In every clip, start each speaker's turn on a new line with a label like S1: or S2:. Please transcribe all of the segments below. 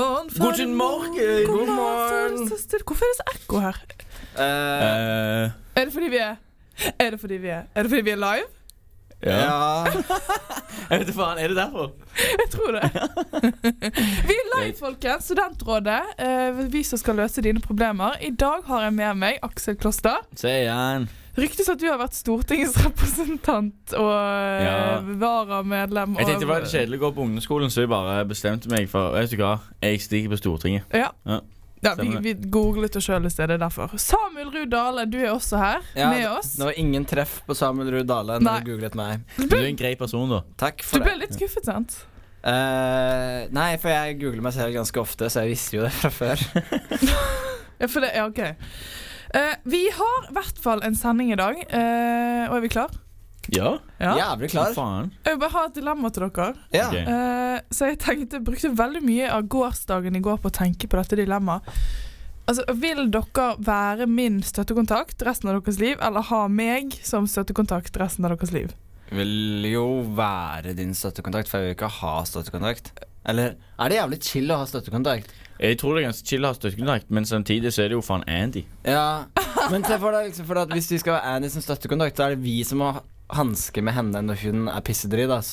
S1: God morgen!
S2: God morgen, søster. Hvorfor er det så ekko her?
S1: Eh,
S3: Eh,
S2: Er det fordi vi er Er det fordi vi er Er det fordi vi er live?
S3: ja.
S1: ja Jeg vet ikke faen, er det derfor?
S2: Jeg tror det. vi er live, folkens. Studentrådet. eh, vi som skal løse dine problemer. I dag har jeg med meg Aksel Kloster.
S1: Se igjen.
S2: Ryktes at du har vært stortingsrepresentant og eh,
S3: Ja.
S2: varamedlem.
S3: Jeg tenkte det var
S2: av-
S3: litt kjedelig å gå på ungdomsskolen, så jeg bare bestemte meg for Vet du hva, jeg stikker på Stortinget.
S2: Ja.
S3: Ja.
S2: Ja, vi,
S3: Stemmer
S2: vi googlet oss sjøl i stedet derfor. Samuel Ruud Dale, du er også her
S4: Ja,
S2: med
S4: det-
S2: oss.
S4: Det var ingen treff på Samuel Ruud Dale
S2: Nei.
S4: når du googlet meg.
S3: Du er en grei person, da.
S4: Takk
S2: Du
S4: for
S2: ble
S4: det.
S2: litt skuffet, sant?
S4: Eh, nei, for jeg googler meg selv ganske ofte, så jeg visste jo det fra før.
S2: Ja, for det, ja, ok. Eh, vi har i hvert fall en sending i dag. eh, og er vi klar?
S3: Ja?
S4: Jævlig klar.
S3: Faen.
S2: Jeg vil bare ha et dilemma til dere.
S4: Ja.
S3: Ok.
S2: Eh, så jeg tenkte, brukte veldig mye av gårsdagen i går på å tenke på dette dilemmaet. Altså, Vil dere være min støttekontakt resten av deres liv, eller ha meg som støttekontakt resten av deres liv?
S4: Vil jo være din støttekontakt, for jeg vil ikke ha støttekontakt. Eller er det jævlig chill å ha støttekontakt?
S3: Jeg tror det er ganske chill å ha støttekontakt, men samtidig så er det jo faen Andy.
S4: Ja, men se for deg liksom for at hvis vi skal ha Annie som støttekontakt, så er det vi som må hanske med henne når hun er pissedrit, ass.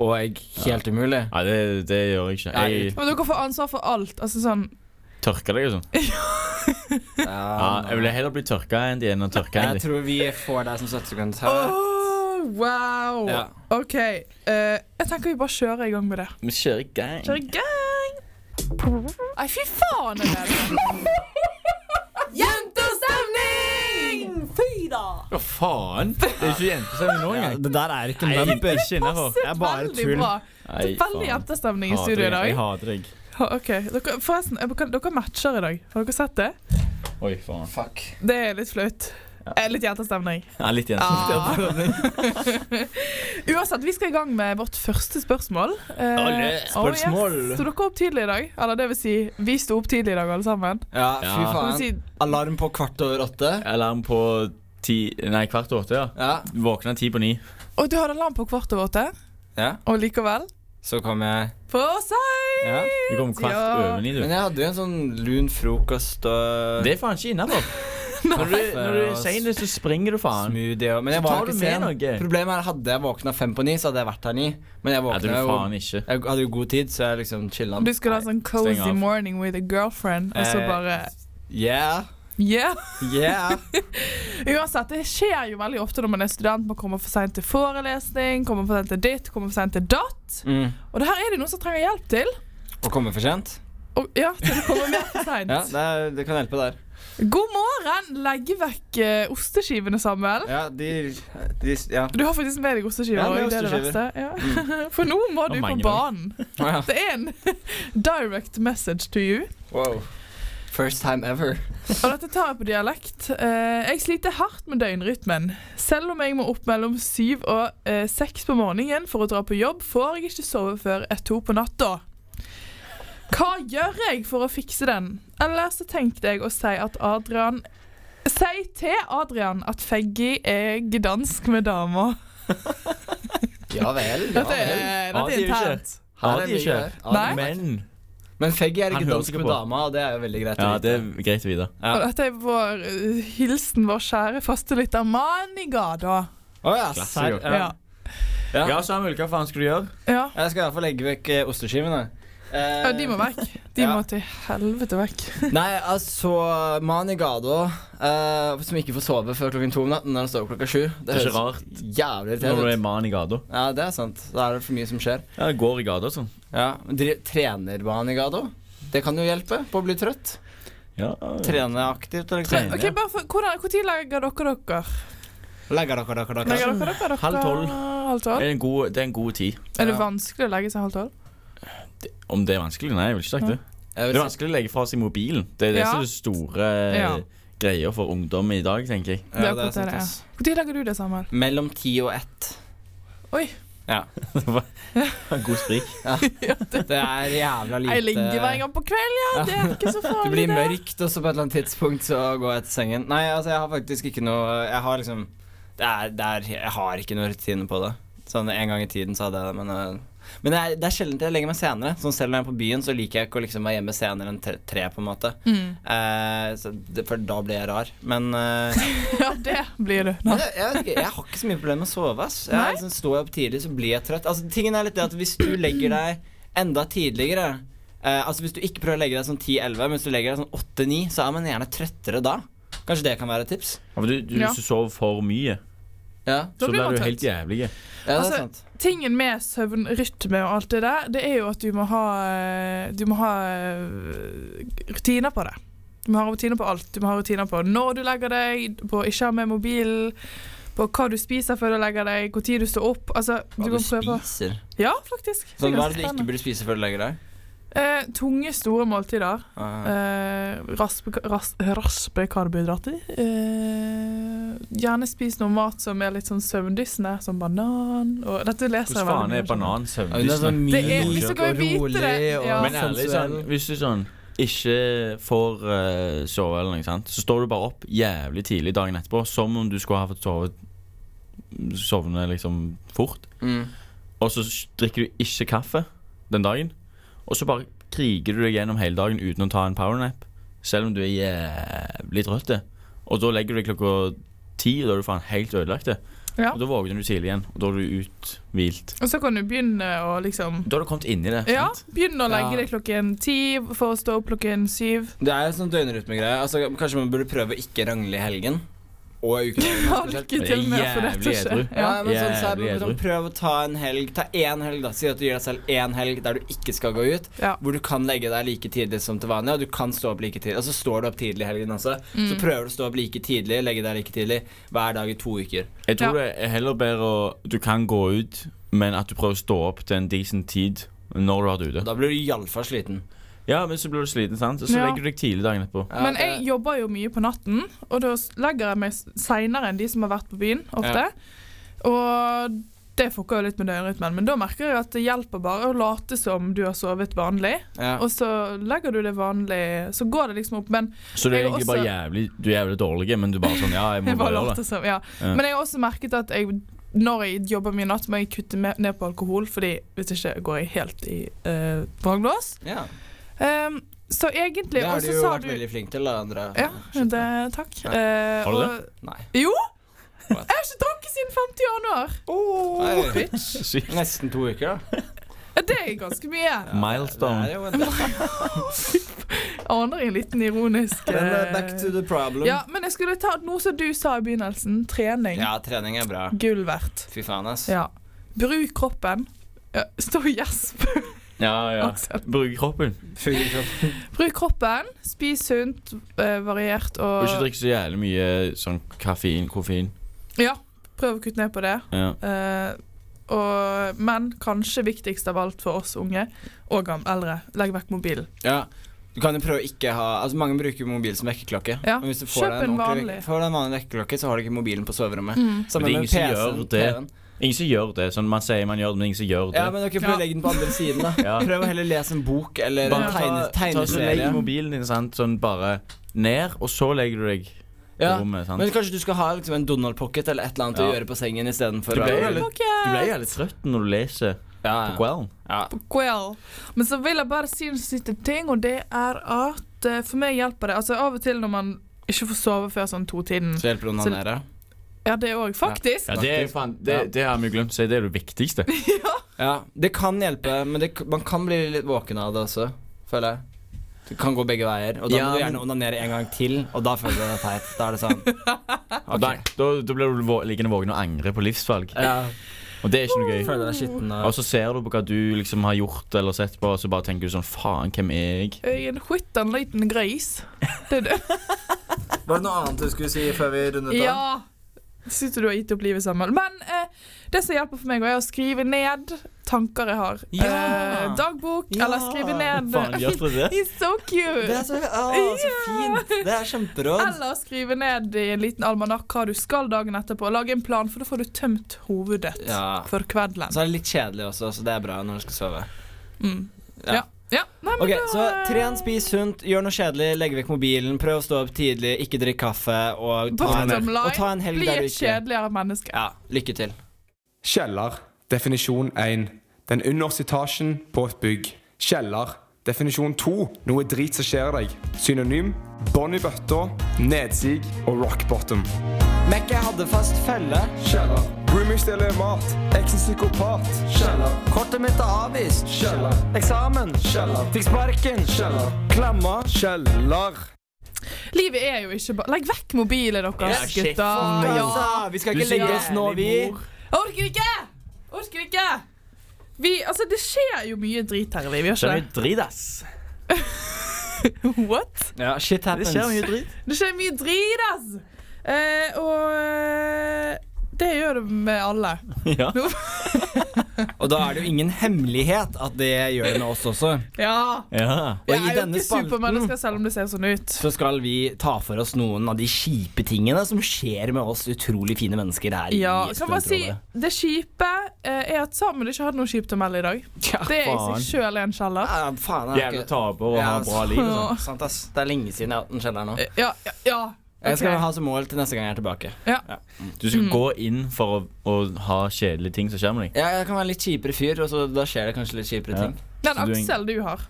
S4: Og jeg helt umulig.
S3: Nei, det, det gjør jeg ikke. Jeg
S2: Men dere får ansvar for alt. altså sånn,
S3: tørker deg og sånn. Ja, jeg ville heller bli tørka Andy enn å tørke
S4: jeg
S3: Andy.
S4: tror vi får deg som støttekontakt.
S2: oh, Wow!
S4: Ja.
S2: OK. eh, jeg tenker vi bare kjører i gang med det.
S3: Vi kjører gang.
S2: Kjør i gang! Nei, fy faen! er det Jentestemning! Fy da!
S3: Å, faen! Det er ikke jentestemning nå engang.
S4: det der er ikke
S3: Nei, jeg er ikke innafor.
S2: Passet veldig bra.
S3: Nei,
S2: Veldig
S3: faen.
S2: jentestemning i
S3: Hater
S2: studio i
S3: deg. Jeg
S2: dag.
S3: hater deg.
S2: Ha- Ok, dere, Forresten, jeg- dere, dere matcher i dag. Har dere sett det?
S3: Oi, faen.
S4: Fuck.
S2: Det er litt flaut. Eh, Litt jentestemning.
S3: Ja, litt
S2: Ah.
S3: jentestemning.
S2: Uansett, vi skal i gang med vårt første spørsmål. Eh,
S3: Alle
S2: oh yes.
S3: spørsmål.
S2: Så dere er opp tidlig i dag? Eller det vil si, vi sto opp tidlig i dag, alle sammen.
S4: Ja,
S3: Ja.
S4: fy
S2: Det vil
S4: faen.
S2: si,
S4: Alarm på kvart over åtte.
S3: Alarm på ti Nei, kvart over åtte, ja.
S4: Ja.
S3: Våkna ti på ni.
S2: og du hadde alarm på kvart over åtte,
S4: ja.
S2: og likevel
S4: Så kom jeg.
S2: På seg!
S4: Ja.
S3: Du kom kvart
S2: Ja.
S3: over ni, du.
S4: Men jeg hadde jo en sånn lun frokost og
S3: Det er faen ikke innafor. Når du, når du er sein, så springer du faen.
S4: smoothie og Men
S3: Så
S4: jeg var
S3: tar
S4: jo
S3: du
S4: ikke
S3: med
S4: sen.
S3: noe.
S4: Problemet er hadde jeg våkna fem på ni, så hadde jeg vært her ni. Men jeg
S3: Nei, du
S4: våkna jo
S3: faen ikke.
S4: Jeg hadde jo god tid, så jeg liksom chilla.
S2: Du skulle ha sånn
S3: steng
S2: cozy
S3: av.
S2: morning with a girlfriend, og så
S4: Eh.
S2: bare
S4: Yeah.
S2: Yeah!
S4: Yeah.
S2: Uansett, det skjer jo veldig ofte når man er student. Man kommer for seint til forelesning, kommer for sent til ditt, kommer for sent til datt.
S4: Mm.
S2: Og det her er det noen som trenger hjelp til.
S4: Å komme for sent?
S2: Og, ja, til å komme mer for
S4: Ja,
S2: seint.
S4: det, er, det kan hjelpe der.
S2: God morgen! Legge vekk eh, osteskivene, Samuel.
S4: Ja, de, de Ja.
S2: Du har faktisk med deg osteskiver.
S4: Ja, med
S2: og det er det verste. Ja. For nå må
S3: Og
S2: du på
S3: mange.
S2: banen.
S4: Å, ja.
S2: Det er en direct message to you.
S4: Wow. First time ever.
S2: Og dette tar jeg på dialekt. Eh, jeg sliter hardt med døgnrytmen. Selv om jeg må opp mellom syv og eh, seks på morgenen for å dra på jobb, får jeg ikke sove før ett to på natta. Hva gjør jeg for å fikse den? Eller så tenkte jeg å si at Adrian Si til Adrian at Feggy er gdansk med damer.
S4: Ja vel. Ja
S2: Dette
S4: vel.
S2: er, dette er
S3: Ja, det er jo ikke-
S2: internt.
S4: Her
S3: Har
S4: er
S3: de
S4: mye
S3: ikke?
S4: her. Ja,
S2: Nei.
S3: Men
S4: Men Feggy er
S3: Han
S4: ikke
S3: hører
S4: dansk
S3: ikke
S4: med
S3: på.
S4: dama, og det er jo veldig greit. å
S3: Ja,
S4: vite.
S3: det er greit å vite.
S4: Ja.
S2: Og dette er vår eh, hilsen vår kjære fastelytter Manigada.
S4: Å ja,
S3: Klassiker.
S4: serr. Ja.
S2: Ja.
S4: Ja.
S3: Ja, Samuel, hva faen skal du gjøre?
S2: ja.
S4: Jeg skal i hvert fall legge vekk eh, osteskivene. Eh,
S2: Ja, de må vekk. De
S4: Ja.
S2: må til helvete vekk.
S4: Nei, altså Mani Gado, eh, som ikke får sove før klokken to om natten når han står opp klokka sju.
S3: Det er ikke rart når
S4: jævlig
S3: du er
S4: irriterende ut.
S3: mann i gata.
S4: Ja, det er sant. Da er det for mye som skjer.
S3: Ja, det går i gata og sånn.
S4: Ja, men dri- Trener Mani Gado? Det kan jo hjelpe på å bli trøtt.
S3: Ja.
S4: Trene aktivt.
S3: Trene.
S4: Liksom.
S2: Ok, bare for, hvordan, Hvor tid legger dere dere?
S4: Legger dere dere dere?
S2: Legger dere dere?
S3: Halv tolv.
S2: Halv
S3: Det
S2: tolv?
S3: er en god, det er en god tid.
S2: Er det
S4: Ja.
S2: vanskelig å legge seg halv tolv?
S3: Om det er vanskelig? Nei, jeg vil ikke sagt det.
S4: Jeg
S3: Det er
S4: vil si-
S3: vanskelig å legge fra seg mobilen. Det er det
S2: Ja.
S3: som er store
S2: Ja.
S3: greier for ungdom i dag, tenker jeg.
S2: Det er
S4: Ja, det
S2: akkurat
S4: er sant,
S2: det, ja.
S4: ass.
S2: Hvor tid legger du det, Samuel?
S4: Mellom ti og ett.
S3: Det var en god sprik.
S4: Det er jævla lite
S2: Jeg ligger hver gang på kveld, ja! Det er ikke så farlig,
S4: Det blir mørkt, og så på et eller annet tidspunkt så går jeg til sengen. Nei, altså, jeg har faktisk ikke noe Jeg har liksom Det er, det er Jeg har ikke noe rutine på det. Sånn en gang i tiden så hadde jeg det, men eh, Men det er, det er sjelden jeg legger meg senere. Sånn selv når jeg er på byen, så liker jeg ikke å liksom være hjemme senere enn tre, tre på en måte.
S2: Mm.
S4: Eh, så det, for da blir jeg rar. Men eh,
S2: Ja, det blir du.
S4: men jeg, jeg, vet ikke, jeg har ikke så mye problemer med å sove. Ass. Jeg,
S2: Nei?
S4: liksom, står jeg opp tidlig, så blir jeg trøtt. Altså, tingen er litt det at Hvis du legger deg enda tidligere eh, Altså Hvis du ikke prøver å legge deg sånn 10-11, men hvis du legger deg sånn 8-9, så er man gjerne trøttere da. Kanskje det kan være et tips?
S3: Ja, for du, du,
S2: Ja.
S3: Hvis du sover for mye,
S4: Ja,
S2: Da
S3: så
S2: blir
S3: blir
S2: man
S3: du
S2: trøtt.
S3: helt jævlig.
S4: ja det
S2: Altså,
S4: er sant.
S2: Tingen med søvn, rytme og alt det der, det er jo at du må ha eh, Du må ha eh, rutiner på det. Du må ha rutiner på alt. Du må ha rutiner på når du legger deg, på å ikke ha med mobilen, på hva du spiser før du legger deg, når du står opp. Altså, du
S4: Hva
S2: må
S4: du
S2: prøve
S4: spiser.
S2: Ja, faktisk. Det er
S4: Sånn, hva er
S2: ganske
S4: det du ikke
S2: spennende.
S4: burde spise før du legger deg?
S2: Eh, tunge, store måltider.
S4: Ah.
S2: Eh, raspe, ras, raspe karbohydrater. Eh, gjerne spis noe mat som er litt sånn søvndyssende, som banan og Dette leser jeg
S3: Hvordan faen
S2: veldig mye
S3: er
S2: om.
S3: banan søvndyssende?
S4: Ja, men det er sånn
S2: Det er-
S4: myk
S2: hvis dere
S4: og
S2: vil vite det,
S4: rolig og
S2: ja.
S3: Men ærlig, sånn,
S4: sensuell.
S3: hvis du sånn ikke får eh, sove eller noe sånt, så står du bare opp jævlig tidlig dagen etterpå, som om du skulle ha fått sove Sovne liksom fort.
S4: Mm.
S3: Og så s- drikker du ikke kaffe den dagen, og så bare kriger du deg gjennom hele dagen uten å ta en powernap, selv om du er jævlig trøtt. Og da legger du deg klokka ti, og da er du faen helt ødelagt.
S2: Ja.
S3: Og da våkner du tidlig igjen, og da er du uthvilt.
S2: Og så kan du begynne å liksom
S3: Da har du kommet inn i det.
S2: Ja,
S3: sant?
S2: begynn å legge
S4: Ja.
S2: deg klokken ti for å stå opp klokken syv.
S4: Det er jo sånn døgnrytmegreie. Altså, kanskje man burde prøve å ikke rangle i helgen. Og i uken.
S2: Ja, lykke
S3: Det er
S2: til med å få dette til å skje.
S3: jævlig edru.
S2: Ja.
S4: Ja, men sånn, så er det
S3: Jævlig
S4: liksom,
S3: edru.
S4: prøv å ta en helg. Ta én helg, da. Si at du gir deg selv én helg der du ikke skal gå ut.
S2: Ja.
S4: Hvor du kan legge deg like tidlig som til vanlig, og du kan stå opp like tidlig. Og så står du opp tidlig i helgen også.
S2: Mm.
S4: Så prøver du å stå opp like tidlig, legge deg like tidlig hver dag i to uker.
S3: Jeg
S2: Ja.
S3: tror det er heller bedre å Du kan gå ut, men at du prøver å stå opp til en decent tid når du har vært
S4: Og
S3: ute.
S4: da blir du iallfall sliten.
S3: Ja, men så blir du sliten, sant? Og så
S2: Ja.
S3: legger du deg tidlig dagen etterpå.
S4: Ja,
S2: Men
S4: det-
S2: jeg jobber jo mye på natten, og da s- legger jeg meg seinere enn de som har vært på byen, ofte. Og det fucker jo litt med døgnrytmen, men da merker jeg at det hjelper bare å late som du har sovet vanlig,
S4: ja.
S2: og så legger du det vanlig, så går det liksom opp. Men
S3: Så du er
S2: Jeg er
S3: egentlig bare
S2: også-
S3: jævlig Du er jævlig dårlig, men du er bare sånn Ja, jeg må
S2: jeg bare
S3: bare gjøre det.
S2: later som, ja.
S3: Ja.
S2: Men jeg har også merket at jeg, når jeg jobber mye natt, må jeg kutte me- ned på alkohol, fordi hvis ikke går jeg helt i eh, vranglås.
S4: ja.
S2: Ehm, så egentlig
S4: Det har
S2: og
S4: du
S2: så
S4: jo
S2: sa
S4: vært veldig flink til, da, Andrea.
S2: Ja, det, takk. Eh,
S3: Har du det?
S2: og-
S4: Nei.
S2: Jo! Jeg
S4: What?
S2: har ikke drukket siden 50. januar.
S4: Oh. Oi.
S3: Sykt.
S4: Nesten to uker, da.
S2: Det er ganske mye.
S3: Milestone.
S4: Det er jo en
S2: Aner en liten ironisk
S4: Men det er
S2: eh,
S4: back to the problem.
S2: Ja, Men jeg skulle ta noe som du sa i begynnelsen. Trening.
S4: Ja, trening er bra.
S2: Gull verdt.
S4: Fy faen, ass.
S2: Ja. Bruk kroppen. Ja, Stå og gjesp,
S3: Ja, ja.
S2: Aksel.
S3: Bruk kroppen.
S4: Fy faen.
S2: Bruk kroppen. Spis sunt, eh, variert
S3: Og ikke
S2: og
S3: drikk så jævlig mye sånn kaffein, koffein.
S2: Ja, prøv å kutte ned på det.
S3: Ja.
S2: Eh, og, men kanskje viktigst av alt for oss unge og gam- eldre, legg vekk mobilen.
S4: Ja. Du kan jo prøve å ikke ha Altså Mange bruker mobil som vekkerklokke.
S2: Ja,
S4: Men hvis du
S2: kjøp
S4: får deg en,
S2: en
S4: ordentlig
S2: vanlig. Mm.
S4: vek- får deg en vanlig vekkerklokke, så har du ikke mobilen på soverommet. Sammen
S3: Men det er
S4: med
S3: ingen som
S4: PC-en,
S3: gjør det.
S4: TV-en.
S3: Ingen som gjør det. Sånn Man sier man gjør det, men ingen som gjør det.
S4: Ja, men ok, prøv
S2: Ja.
S4: å legge den på andre siden, da.
S3: Ja.
S4: Prøv å heller lese en bok eller
S3: Bare
S4: en
S3: ta,
S4: tegne,
S3: ta så legg
S4: tegneserie.
S3: mobilen din sant? sånn bare ned, og så legger du deg på
S4: Ja.
S3: rommet. sant?
S4: Men kanskje du skal ha liksom, en Donald Pocket eller et eller annet å
S3: Ja.
S4: gjøre på sengen
S3: Du
S4: istedenfor å
S3: ble jo
S4: ja,
S3: litt- Du ble jævlig trøtt når du leser på
S4: ja.
S3: kvelden.
S4: ja.
S2: Well. Men så vil jeg bare si en siste ting, og det er at eh, for meg hjelper det. Altså Av og til når man ikke får sove før sånn to-tiden.
S4: Så hjelper det å
S2: Så-
S4: onanere.
S2: Ja, det òg, faktisk.
S3: Ja, det, er,
S4: Faktisk.
S3: faen, det, det har vi glemt å si. Det er det viktigste.
S4: Ja. Det kan hjelpe, men det, k- man kan bli litt våken av det også, føler jeg. Det kan gå begge veier, og da
S3: Ja,
S4: må du
S3: men-
S4: gjerne onanere en gang til, og da føler du deg teit. Da er det sånn.
S3: Og Da, da, da blir du vå- liggende våken og angre på livsvalg.
S4: Ja.
S3: Og det er ikke noe gøy.
S4: Føler deg skitten
S3: Og
S4: og
S3: så ser du på hva du liksom har gjort eller sett på, og så bare tenker du sånn Faen, hvem er jeg?
S2: Jeg er en skitten liten gris. Det er det.
S4: Var det noe annet du skulle si før vi rundet
S2: Ja! Syns du du har gitt opp livet sammen. Men eh, det som hjelper for meg, er å skrive ned tanker jeg har.
S4: Ja.
S2: Eh, dagbok,
S4: Ja.
S2: eller skrive ned
S3: Faen, gjør du det?
S2: He's so cute!
S4: Det er så, å, så fint! Det er kjemperåd.
S2: Eller skrive ned i en liten almanakk hva du skal dagen etterpå. Lage en plan, for da får du tømt hovedet
S4: Ja.
S2: for kvelden.
S4: Så er det litt kjedelig også, så det er bra når du skal sove.
S2: Mm.
S4: Ja.
S2: Ja. ja. Nei, men
S4: Ok,
S2: da- eh,
S4: Så tren, spis sunt, gjør noe kjedelig, legg vekk mobilen, prøv å stå opp tidlig, ikke drikk kaffe, og ta en,
S2: Bottom line,
S4: og ta en helg
S2: Bli
S4: der du
S2: et
S4: ikke
S2: kjedeligere menneske.
S4: Ja, lykke til.
S5: Kjeller. Definisjon 1. Den underste etasjen på et bygg. Kjeller. Definisjon to noe drit som skjer deg. Synonym bånd i bøtta, nedsig og rock bottom.
S4: Mekke hadde fast felle.
S5: Kjeller. Roomies deler mat. Eksen psykopat. Kjeller.
S4: Kortet mitt er avvist.
S5: Kjeller.
S4: Eksamen.
S5: Kjeller.
S4: Fikk sparken.
S5: Kjeller.
S4: Klamma.
S5: Kjeller.
S2: Livet er jo ikke bare Legg vekk mobilen deres, gutter.
S4: Ja.
S2: Ja.
S4: Altså, Vi skal
S3: Du
S4: ikke legge oss nå, vi.
S2: Jeg Orker ikke! Orker ikke! Vi, altså, det skjer jo mye drit her i livet,
S3: Det
S2: gjør
S3: er mye drit, ass.
S2: ikke det? What?
S4: Ja, shit
S3: Det
S4: happens.
S3: skjer mye drit.
S2: Det skjer mye drit, ass! Eh, og eh, det gjør det med alle.
S3: Ja.
S4: Og da er det jo ingen hemmelighet at det gjør det med oss også.
S2: Ja!
S3: ja.
S4: Og
S2: Vi
S4: i
S2: er jo
S4: denne
S2: ikke
S4: spalten
S2: supermennesker selv om det ser sånn ut.
S4: så skal vi ta for oss noen av de kjipe tingene som skjer med oss utrolig fine mennesker her.
S2: Ja,
S4: i
S2: kan bare si
S4: Studentrådet.
S2: Det kjipe eh, er at Samuel ikke hadde noe kjipt å melde i dag.
S4: Ja,
S2: Det er i
S3: faen.
S2: seg sjøl en skjeller.
S4: Ja, faen, jeg har
S3: Jævla
S4: ikke
S3: taper og har bra liv. og sånn.
S4: sant, sant, ass. Det er lenge siden jeg har hatt en kjeller nå.
S2: Eh, Ja, ja, ja.
S4: Jeg skal
S2: ok.
S4: ha som mål til neste gang jeg er tilbake.
S3: Du skal
S4: Mm.
S3: gå inn for å, å ha kjedelige ting som skjer med deg.
S4: Ja, jeg kan være litt kjipere fyr, og så da skjer det kanskje litt kjipere
S3: Ja.
S4: ting.
S2: Den
S3: Så du er ingen-
S2: Aksel du har.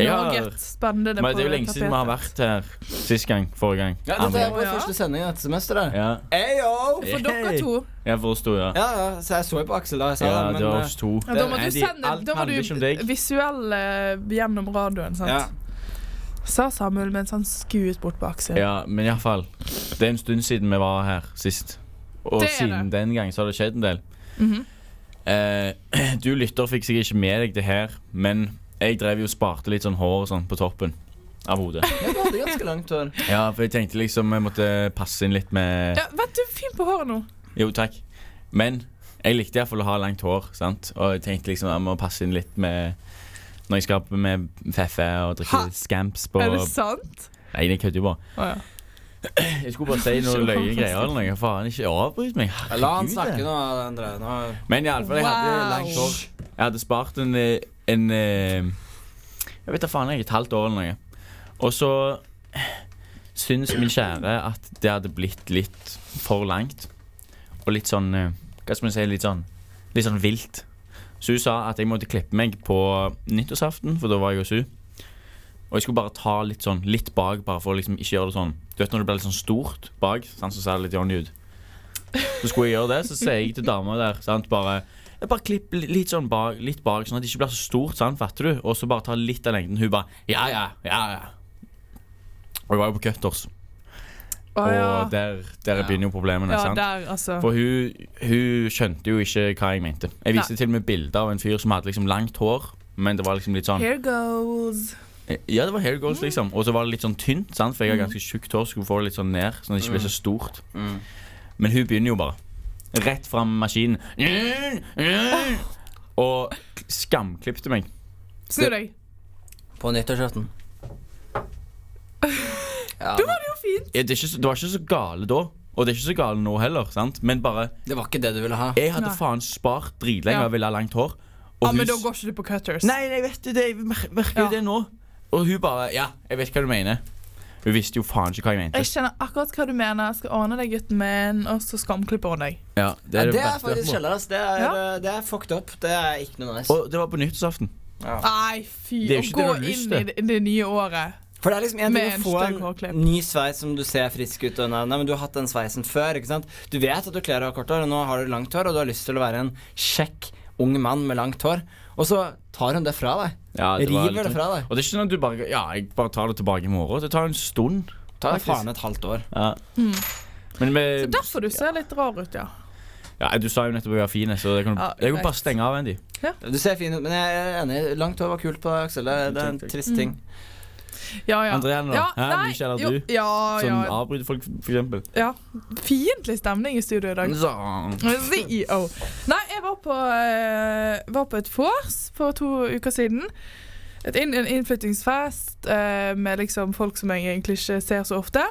S3: Jeg
S2: Laget
S3: har-
S2: spennende
S3: Men det
S2: på
S3: er jo lenge siden vi har
S2: tapetet.
S3: vært her. Sist gang. Forrige gang.
S4: Ja, dette er
S3: Andre gang.
S4: vår
S2: Ja.
S4: første sending dette semesteret.
S3: ja.
S4: Ayo!
S2: For dere
S3: Hey.
S2: to.
S3: Jeg forsto, ja.
S4: Ja, ja, så jeg så jo på Aksel da jeg sa
S3: Ja,
S4: det, men
S3: det var
S4: eh,
S3: oss to.
S2: Ja, da må du
S3: Nei, de-
S2: sende
S3: alt
S2: da må
S3: handler ikke om
S2: du
S3: deg.
S2: visuell eh, gjennom radioen, sant?
S4: ja.
S2: Sa Samuel mens han skuet bort på Aksel.
S3: Ja, men iallfall. Det er en stund siden vi var her sist. Og
S2: Det er
S3: siden
S2: det.
S3: den gang så har det skjedd en del.
S2: Mhm.
S3: Eh, du lytter fikk sikkert ikke med deg det her, men jeg drev jo og sparte litt sånn hår og sånn på toppen av hodet.
S4: Jeg hadde ganske langt hår.
S3: Ja, for jeg tenkte liksom jeg måtte passe inn litt med
S2: Ja, Vent, du er fin på håret nå.
S3: Jo, takk. Men jeg likte iallfall å ha langt hår. sant? Og jeg tenkte liksom jeg må passe inn litt med når jeg skal opp med Feffe og drikke
S2: Ha!
S3: scamps på
S2: Er det sant?
S3: Nei, jeg kødder jo bare.
S2: Å, ja.
S3: Jeg skulle bare si noen løye greier eller noe. Faen, ikke avbryt meg.
S4: La han
S3: Herregud,
S4: snakke
S3: det.
S4: nå, André. Nå.
S3: Men iallfall, jeg hadde langt hår. Jeg hadde spart en, eh, en eh, Jeg vet da faen, jeg, et halvt år eller noe. Og så syns min kjære at det hadde blitt litt for langt. Og litt sånn eh, Hva skal man si? Litt sånn, litt sånn vilt. Så hun sa at jeg måtte klippe meg på nyttårsaften, for da var jeg hos hun. Og jeg skulle bare ta litt sånn litt bak, bare for å liksom ikke gjøre det sånn Du vet når det blir litt sånn stort bak, sant, så ser det litt Johnny ut. Så skulle jeg gjøre det, så sier jeg til dama der sant, bare jeg bare klipp li- litt sånn bak, litt bak, sånn at det ikke blir så stort, sant, fatter du? Og så bare ta litt av lengden. Hun bare ja, ja, ja, ja. Og jeg var jo på Cutters,
S2: Å, ja.
S3: og der, der begynner jo problemene.
S2: ja,
S3: sant?
S2: der, altså.
S3: For hun, hun skjønte jo ikke hva jeg mente. Jeg viste til og med bilder av en fyr som hadde liksom langt hår, men det var liksom litt sånn
S2: Here goes.
S3: Ja, det var hair goals, liksom. Og så var det litt sånn tynt, sant? for jeg har ganske tjukt hår, skulle få det litt sånn ned, sånn at det ikke blir så stort.
S4: Mm.
S3: Men hun begynner jo bare. Rett fram maskinen. Mm, mm, Og skamklipte meg.
S2: Snu deg.
S4: På nyttårsaften. Ja,
S2: Da var det jo fint.
S3: Ja, Det, er ikke, så- det var ikke så gale da, og det er ikke så gale nå heller. sant? Men bare
S4: det var ikke det du ville ha.
S3: Jeg hadde
S2: Nei.
S3: faen spart dritlenge
S2: Ja.
S3: og ville ha langt hår. Og
S2: Ja,
S3: hun
S2: Men da
S3: s-
S2: går ikke du på Cutters.
S3: Nei, jeg vet det, det- jeg mer- merker jo
S2: Ja.
S3: det nå. Og hun bare Ja, jeg vet hva du mener. Hun visste jo faen ikke hva jeg mente.
S2: Jeg kjenner akkurat hva du mener. Jeg skal ordne deg, gutten min, og så skamklipper hun deg.
S3: Ja,
S4: Ja, det,
S3: verste
S4: er faktisk
S3: jeg har fått.
S4: kjeller, ass. Det er, eh,
S2: Ja.
S4: det er fucked up. Det er ikke noe nice.
S3: Og det var på nyttårsaften.
S2: Nei, fy.
S3: Det er
S2: Å
S3: jo ikke
S2: gå
S3: det du har lyst
S2: inn i
S3: til.
S2: det, det nye året.
S4: For det er liksom en
S2: Med
S4: ting
S2: en
S4: å få
S2: stygg hårklipp.
S4: en ny sveis som du ser frisk ut. Og nei, nei, men Du har hatt den sveisen før. ikke sant? Du vet at du kler å ha kort hår, og nå har du langt hår, og du har lyst til å være en kjekk ung mann med langt hår. Og så tar hun det fra deg.
S3: Ja, var
S4: River
S3: litt-
S4: det fra deg.
S3: Og det er ikke sånn at du bare Ja, jeg bare tar det tilbake i morgen. Det tar en stund.
S4: Tar
S3: faktisk.
S4: faen et halvt år.
S3: Ja. Men
S2: Det er
S3: med,
S2: derfor du ser litt rar ut, ja.
S3: ja, du sa jo nettopp at jeg var fin, så jeg kan,
S2: Ja,
S3: jeg kan bare
S2: greit.
S3: stenge av, Andy.
S4: Du ser fin ut, men jeg er enig. Langt hår var kult på Aksel. Det det er en
S3: Takk, takk.
S4: trist ting.
S2: Mm. Ja, ja.
S3: Andrea nå,
S2: ja,
S3: hæ,
S2: nei,
S3: du kjenner
S2: jo,
S3: du?
S2: Ja,
S3: Som
S2: ja.
S3: avbryter Sånn folk, for eksempel.
S2: ja. Fiendtlig stemning i studio i dag.
S3: Sånn.
S2: CEO. Nei, jeg var på, eh, var på et vors for to uker siden. Et inn, en innflyttingsfest eh, med liksom folk som jeg egentlig ikke ser så ofte.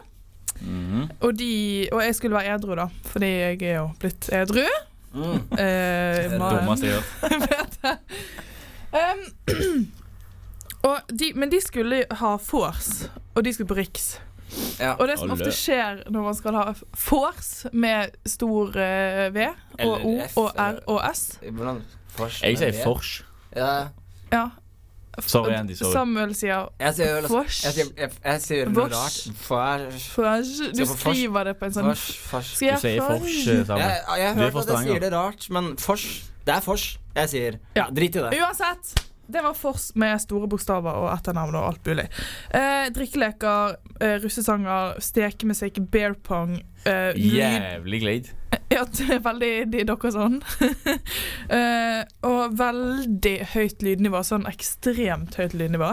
S3: Mhm.
S2: Og, de, og jeg skulle være edru, da, fordi jeg er jo blitt edru.
S4: Mm.
S2: Eh,
S3: Det
S2: mannen.
S3: dummeste jeg har gjort.
S2: Em, og de, men de skulle ha vors, og de skulle på Riks.
S4: Ja.
S2: Og det som
S3: Alle.
S2: ofte skjer når man skal ha vors med stor eh, V og O
S4: Eller F,
S2: og R
S3: eh.
S4: eller-
S2: og S
S4: Hvordan Fors
S3: Jeg
S4: med
S3: sier
S4: V.
S3: fors.
S4: Ja.
S2: Ja.
S3: Sorry, Andy, sorry.
S2: Samuel sier
S4: Jeg sier jo
S2: Fors.
S4: jeg sier, jeg, jeg sier noe
S2: Vors.
S4: rart. Fors.
S2: Fors. Du
S4: Sier på fors.
S2: skriver det på en sånn
S4: Fors. Fors.
S2: Skal
S3: Du
S2: jeg
S3: sier
S2: fors?
S3: fors, eh.
S4: Jeg,
S3: Samuel.
S4: jeg
S3: Du
S4: har
S3: er fra
S4: hørt at jeg
S3: Stavanger.
S4: sier det rart, men fors. Det er fors. Jeg sier
S2: Ja.
S4: drit i det.
S2: Uansett. Det var fors med store bokstaver og etternavn og alt mulig. Eh, drikkeleker, eh, russesanger, stekemusikk, bear pong eh, lyd-
S3: Jævlig glid.
S2: Ja, det er veldig de dere sånn. eh, og veldig høyt lydnivå. Sånn ekstremt høyt lydnivå.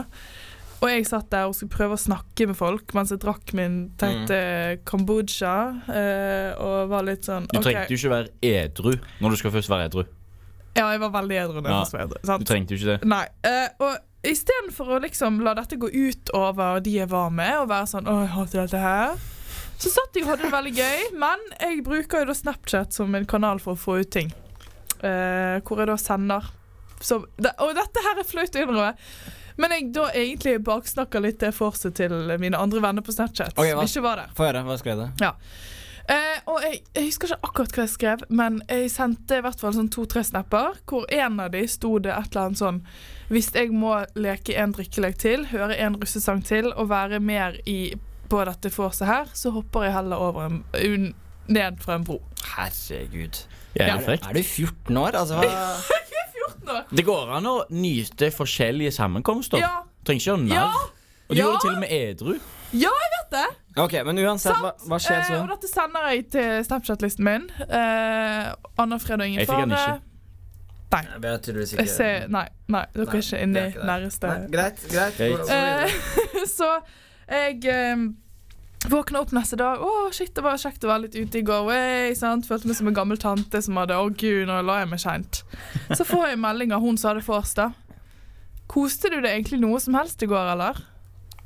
S2: Og jeg satt der og skulle prøve å snakke med folk mens jeg drakk min teite Kambodsja. Eh, og var litt sånn
S3: Du
S2: ok.
S3: trengte jo ikke være edru når du skal først være edru.
S2: Ja, jeg var veldig edru da jeg
S3: Ja,
S2: først var edru.
S3: Du
S2: sant?
S3: trengte jo ikke det.
S2: Nei. eh, og istedenfor å liksom la dette gå ut over de jeg var med, og være sånn 'Å, jeg hater dette her', så satt jeg og hadde det veldig gøy. Men jeg bruker jo da Snapchat som en kanal for å få ut ting. Eh, hvor jeg da sender som det- Og dette her er flaut å innrømme. Men jeg da egentlig baksnakker litt det forset til mine andre venner på Snapchat.
S4: Ok,
S2: som
S4: hva-
S2: ikke var der.
S4: Få høre. Hva skrev du?
S2: Eh, og jeg, jeg husker ikke akkurat hva jeg skrev, men jeg sendte i hvert fall sånn to-tre snapper, hvor en av de sto det et eller annet sånn Hvis jeg må leke en drikkelek til, høre en russesang til og være mer i, på dette vorset her, så hopper jeg heller over en, un, ned fra en bro.
S4: Herregud.
S3: Jævlig frekt.
S4: Er du 14 år? Altså, hva?
S3: Det går an å nyte forskjellige sammenkomster.
S2: Ja,
S3: Trenger ikke gjøre
S2: Ja.
S3: narr. Og du
S2: Ja.
S3: gjorde det til og med edru.
S2: ja, jeg vet det!
S4: Ok, men uansett, hva, hva skjer
S2: Eh, og
S4: så?
S2: dette sender jeg til Snapchat-listen min. Eh, Anna Fred og ingen
S3: Jeg fikk den
S2: fare.
S3: ikke.
S4: Jeg vet tydeligvis
S2: Jeg ser Nei, nei, dere
S4: Nei,
S2: er ikke inne
S4: det er ikke
S2: i
S4: det.
S2: næreste
S4: Nei, Greit, greit.
S3: Greit.
S4: Gå- gå videre.
S2: Eh, så jeg eh, våkna opp neste dag. Å, shit, det var kjekt å være litt ute i går. Hey, sant? Følte meg som en gammel tante som hadde Å, gud, nå la jeg meg seint. Så får jeg melding av hun som hadde vors, da. Koste du deg egentlig noe som helst i går, eller?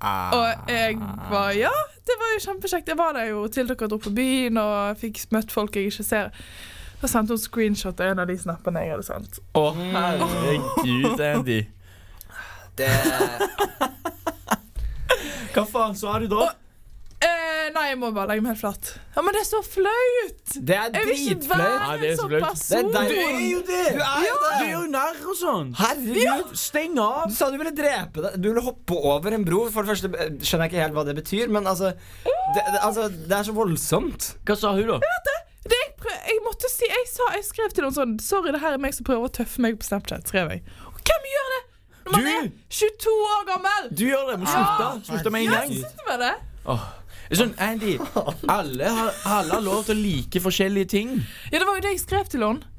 S2: Og jeg var Ja, det var jo kjempekjekt. Jeg var der jo til dere dro på byen og fikk møtt folk jeg ikke ser. Da sendte hun screenshot av en av de snappene jeg hadde sendt.
S3: Å, herregud, Andy.
S4: Det
S3: Hva faen sa du da?
S2: Eh, nei, jeg må bare legge meg helt flat. Ja, Men det er så flaut!
S4: Det er
S2: Jeg vil ikke
S4: dritflaut.
S3: Nei,
S2: være
S3: det er
S2: en
S3: så
S2: sånn
S3: flaut.
S2: person.
S4: Det er deg.
S3: det!
S4: Du er jo
S3: Du er
S4: det!
S3: jo narr og sånn.
S4: Herregud.
S3: Steng av!
S4: Du sa du ville drepe deg. Du ville hoppe over en bro. For det første eh, skjønner jeg ikke helt hva det betyr, men altså Det, det, altså, det er så voldsomt.
S3: Hva sa hun, da?
S2: Det jeg, prøv, jeg måtte si jeg, sa, jeg skrev til noen sånn Sorry, det her er meg som prøver å tøffe meg på Snapchat. skrev jeg Og hvem gjør det når man
S3: Du!
S2: er 22 år gammel?
S3: Du gjør det. Må slutte. Slutte med en
S2: Ja,
S3: gang.
S2: slutt med det.
S3: Det er Sånn, Andy, alle har, alle har lov til å like forskjellige ting.
S2: Ja, det var jo det jeg skrev til henne.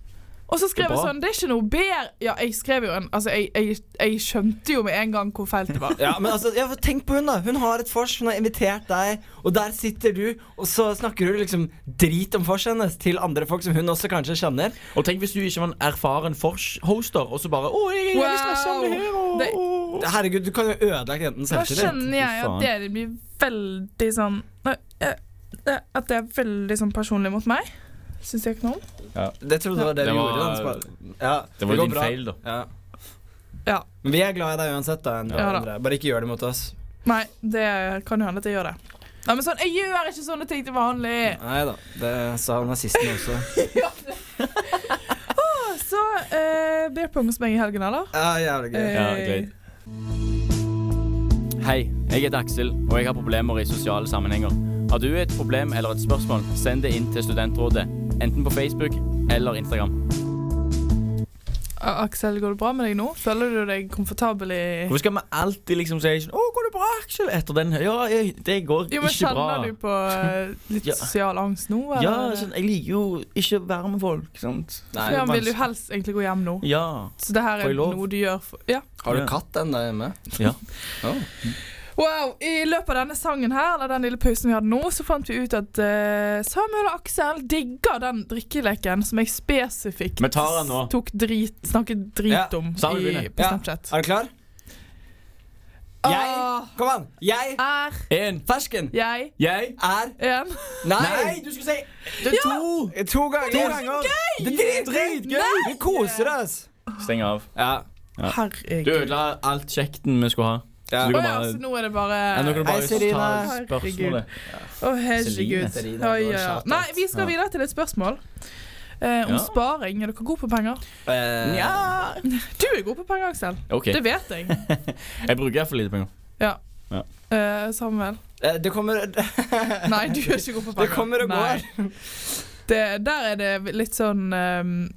S2: Og så skrev
S3: Det er
S2: jeg
S3: bra.
S2: sånn Det er ikke noe bedre Ja, jeg skrev jo en Altså, jeg, jeg, jeg skjønte jo med en gang hvor feil det var.
S4: Ja, men altså, ja, Tenk på hun, da. Hun har et vors. Hun har invitert deg, og der sitter du, og så snakker du liksom drit om vorset hennes til andre folk som hun også kanskje kjenner.
S3: Og tenk hvis du ikke var en erfaren Fors-hoster, og så bare Å, jeg er veldig stressa om det her, og,
S2: Det-
S3: og.
S4: Herregud, du kan jo ødelegge jentens
S2: Da
S4: selvtillit.
S2: skjønner jeg at
S3: Fy faen.
S2: dere blir veldig sånn Nei, eh, eh, At det er veldig sånn personlig mot meg. Syns jeg ikke noe om.
S4: Det trodde jeg var det,
S3: Det
S4: vi
S3: var-
S4: gjorde. da, så bare- Ja,
S3: Det var
S4: går
S3: jo din
S4: bra.
S3: feil, da.
S4: Ja.
S2: Ja.
S4: Men vi er glad i deg uansett, da. Andrea.
S2: Ja da.
S4: Andrea. Bare ikke gjør det mot oss.
S2: Nei, det kan jo hende at jeg gjør det. Nei, men sånn, Jeg gjør ikke sånne ting til vanlig!
S4: Nei da. Det sa nazisten også.
S2: Så eh, beer pong hos meg i helgen, eller?
S4: Ja, jævlig gøy.
S3: Ja,
S2: Eh,
S3: greit. Hei, jeg heter Aksel, og jeg har problemer i sosiale sammenhenger. Har du et problem eller et spørsmål, send det inn til Studentrådet. Enten på Facebook eller Instagram.
S2: A- Aksel, går det bra med deg nå? Føler du deg komfortabel i
S3: Hvorfor skal vi alltid liksom si sånn 'Å, går det bra, Aksel?' etter den Ja, jeg, det går
S2: Jo, men
S3: ikke bra.
S2: Kjenner du på eh, litt
S3: Ja.
S2: sosial angst nå?
S3: Ja, sånn, jeg liker jo ikke å være med folk, sant.
S4: Nei,
S2: ja, men vil du helst egentlig gå hjem nå?
S3: Ja.
S2: Så det her
S3: Får
S2: er
S3: jeg lov?
S2: noe du gjør for Ja.
S4: Har du
S3: Ja.
S4: katt den der hjemme?
S3: Ja.
S4: Å.
S2: Wow, I løpet av denne sangen her, eller den lille pausen vi hadde nå, så fant vi ut at eh, Samuel og Aksel digger den drikkeleken som jeg spesifikt
S3: Vi tar den nå.
S2: s- tok drit, snakket drit
S4: Ja,
S2: om
S3: Samuel
S2: i,
S3: begynner.
S2: på
S4: Ja.
S2: Snapchat.
S4: Er du klar? Jeg- Kom an! Jeg
S2: Ah, er
S3: En.
S4: Fersken
S2: jeg
S3: Jeg.
S4: er
S2: en
S4: Nei!
S3: Nei, du skulle si Det er to.
S4: To ganger!
S3: To ganger.
S4: Det er dritgøy! Vi koser oss!
S3: Steng av.
S4: Ja.
S3: Ja. Du
S2: Herregud.
S3: ødela alt kjekten vi skulle ha.
S4: ja.
S3: Så du
S2: Å
S3: kan
S2: ja, sånn,
S3: bare
S2: så nå er det bare
S3: Ja, nå kan du
S4: Hei,
S3: bare
S4: Serine.
S3: ta spørsmålet.
S2: Å, herregud.
S4: Celine.
S2: Oi, ja, ja.
S4: Shout out.
S2: Nei, vi skal
S3: Ja.
S2: videre til et spørsmål. eh, om
S3: Ja.
S2: sparing. Er dere gode på penger?
S4: Eh,
S3: Nja
S2: Du er god på penger, Aksel.
S3: OK.
S2: Det vet jeg.
S3: Jeg bruker iallfall lite penger.
S2: Ja.
S3: Ja.
S2: Eh, Samuel.
S4: eh, Det kommer
S2: Nei, du er ikke god på penger.
S4: Det kommer og
S2: Nei.
S4: går.
S2: Det, der er det litt sånn ehm,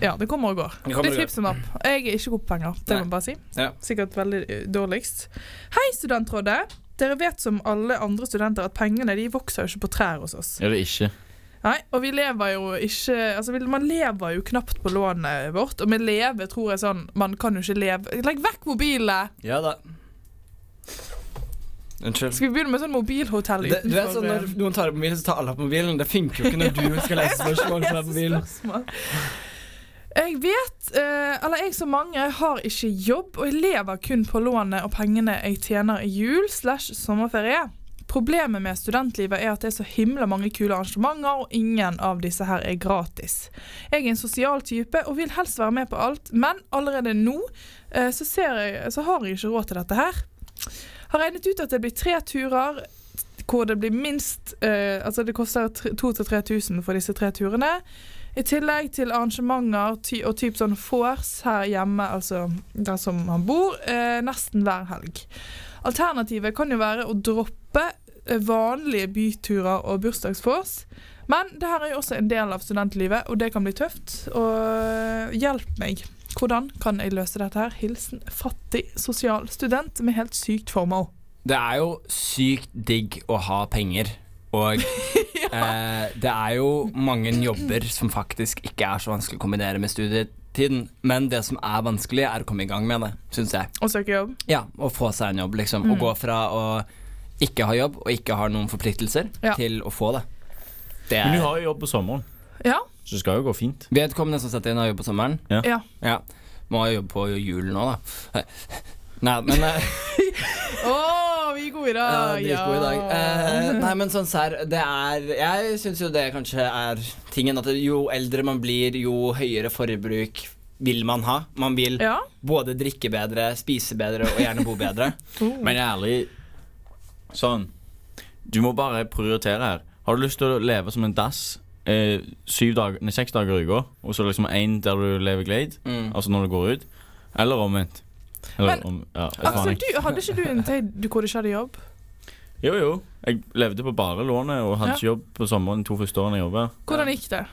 S2: Ja, det kommer og går.
S4: Det kommer
S2: Litt
S4: og går.
S2: hipp som napp. Jeg er ikke god på penger. Det
S4: Nei.
S2: må jeg bare si.
S4: Ja.
S2: Sikkert veldig eh, dårligst. Hei, studentrådet. Dere vet som alle andre studenter at pengene de vokser jo ikke på trær hos oss.
S3: Er det ikke?
S2: Nei, og vi lever jo ikke Altså, vi- man lever jo knapt på lånet vårt. Og med leve tror jeg sånn Man kan jo ikke leve Legg vekk mobilene!
S4: Ja da. Unnskyld.
S2: Skal vi begynne med sånn mobilhotell
S4: Det, du vet sånn Når
S2: eh,
S4: noen tar opp mobilen, så tar alle opp mobilen. Det funker jo ikke når du skal lese spørsmål fra mobilen.
S2: Spørsmål. Jeg vet, eh, eller jeg som mange, har ikke jobb, og jeg lever kun på lånet og pengene jeg tjener i jul slash sommerferie. Problemet med studentlivet er at det er så himla mange kule arrangementer, og ingen av disse her er gratis. Jeg er en sosial type og vil helst være med på alt, men allerede nå eh, så, ser jeg, så har jeg ikke råd til dette her. Har regnet ut at det blir tre turer hvor det blir minst eh, Altså det koster 2000-3000 for disse tre turene. I tillegg til arrangementer ty og typ sånn vors her hjemme, altså der som han bor, eh, nesten hver helg. Alternativet kan jo være å droppe eh, vanlige byturer og bursdagsvors. Men det her er jo også en del av studentlivet, og det kan bli tøft. Og eh, hjelp meg. Hvordan kan jeg løse dette her? Hilsen fattig sosial student med helt sykt formål.
S4: Det er jo sykt digg å ha penger. Og eh, det er jo mange jobber som faktisk ikke er så vanskelig å kombinere med studietiden. Men det som er vanskelig, er å komme i gang med det, syns jeg.
S2: Å søke jobb.
S4: Ja, Å få seg en jobb, liksom. Å gå fra å ikke ha jobb og ikke ha noen forpliktelser,
S2: Ja.
S4: til å få det. Det
S3: Men du
S4: er
S3: har jo jobb på sommeren,
S2: Ja.
S3: så det skal jo gå fint.
S4: Vedkommende som setter inn har jobb på sommeren.
S2: ja.
S4: Ja. Må ha jobb på jul nå, da. Nei, men eh,
S2: Å, vi er gode i dag!
S4: Ja, dritgod i dag. Eh, nei, men sånn serr, det er Jeg syns jo det kanskje er tingen at jo eldre man blir, jo høyere forbruk vil man ha. Man vil
S2: ja.
S4: både drikke bedre, spise bedre og gjerne bo bedre.
S3: Men ærlig Sånn Du må bare prioritere her Har du lyst til å leve som en dass eh, syv dag, nei, Seks dager i uka Og så liksom en der du lever glade
S4: Mm.
S3: Altså når du går ut Eller omvendt Eller
S2: Men-
S3: om, ja, jeg faen
S2: Altså,
S3: ikke.
S2: du, hadde ikke du en tid du- hvor du ikke hadde jobb?
S3: Jo jo Jeg levde på bare lånet Og hadde ikke jobb på sommeren de To første årene jeg jobbet
S2: Hvordan gikk det?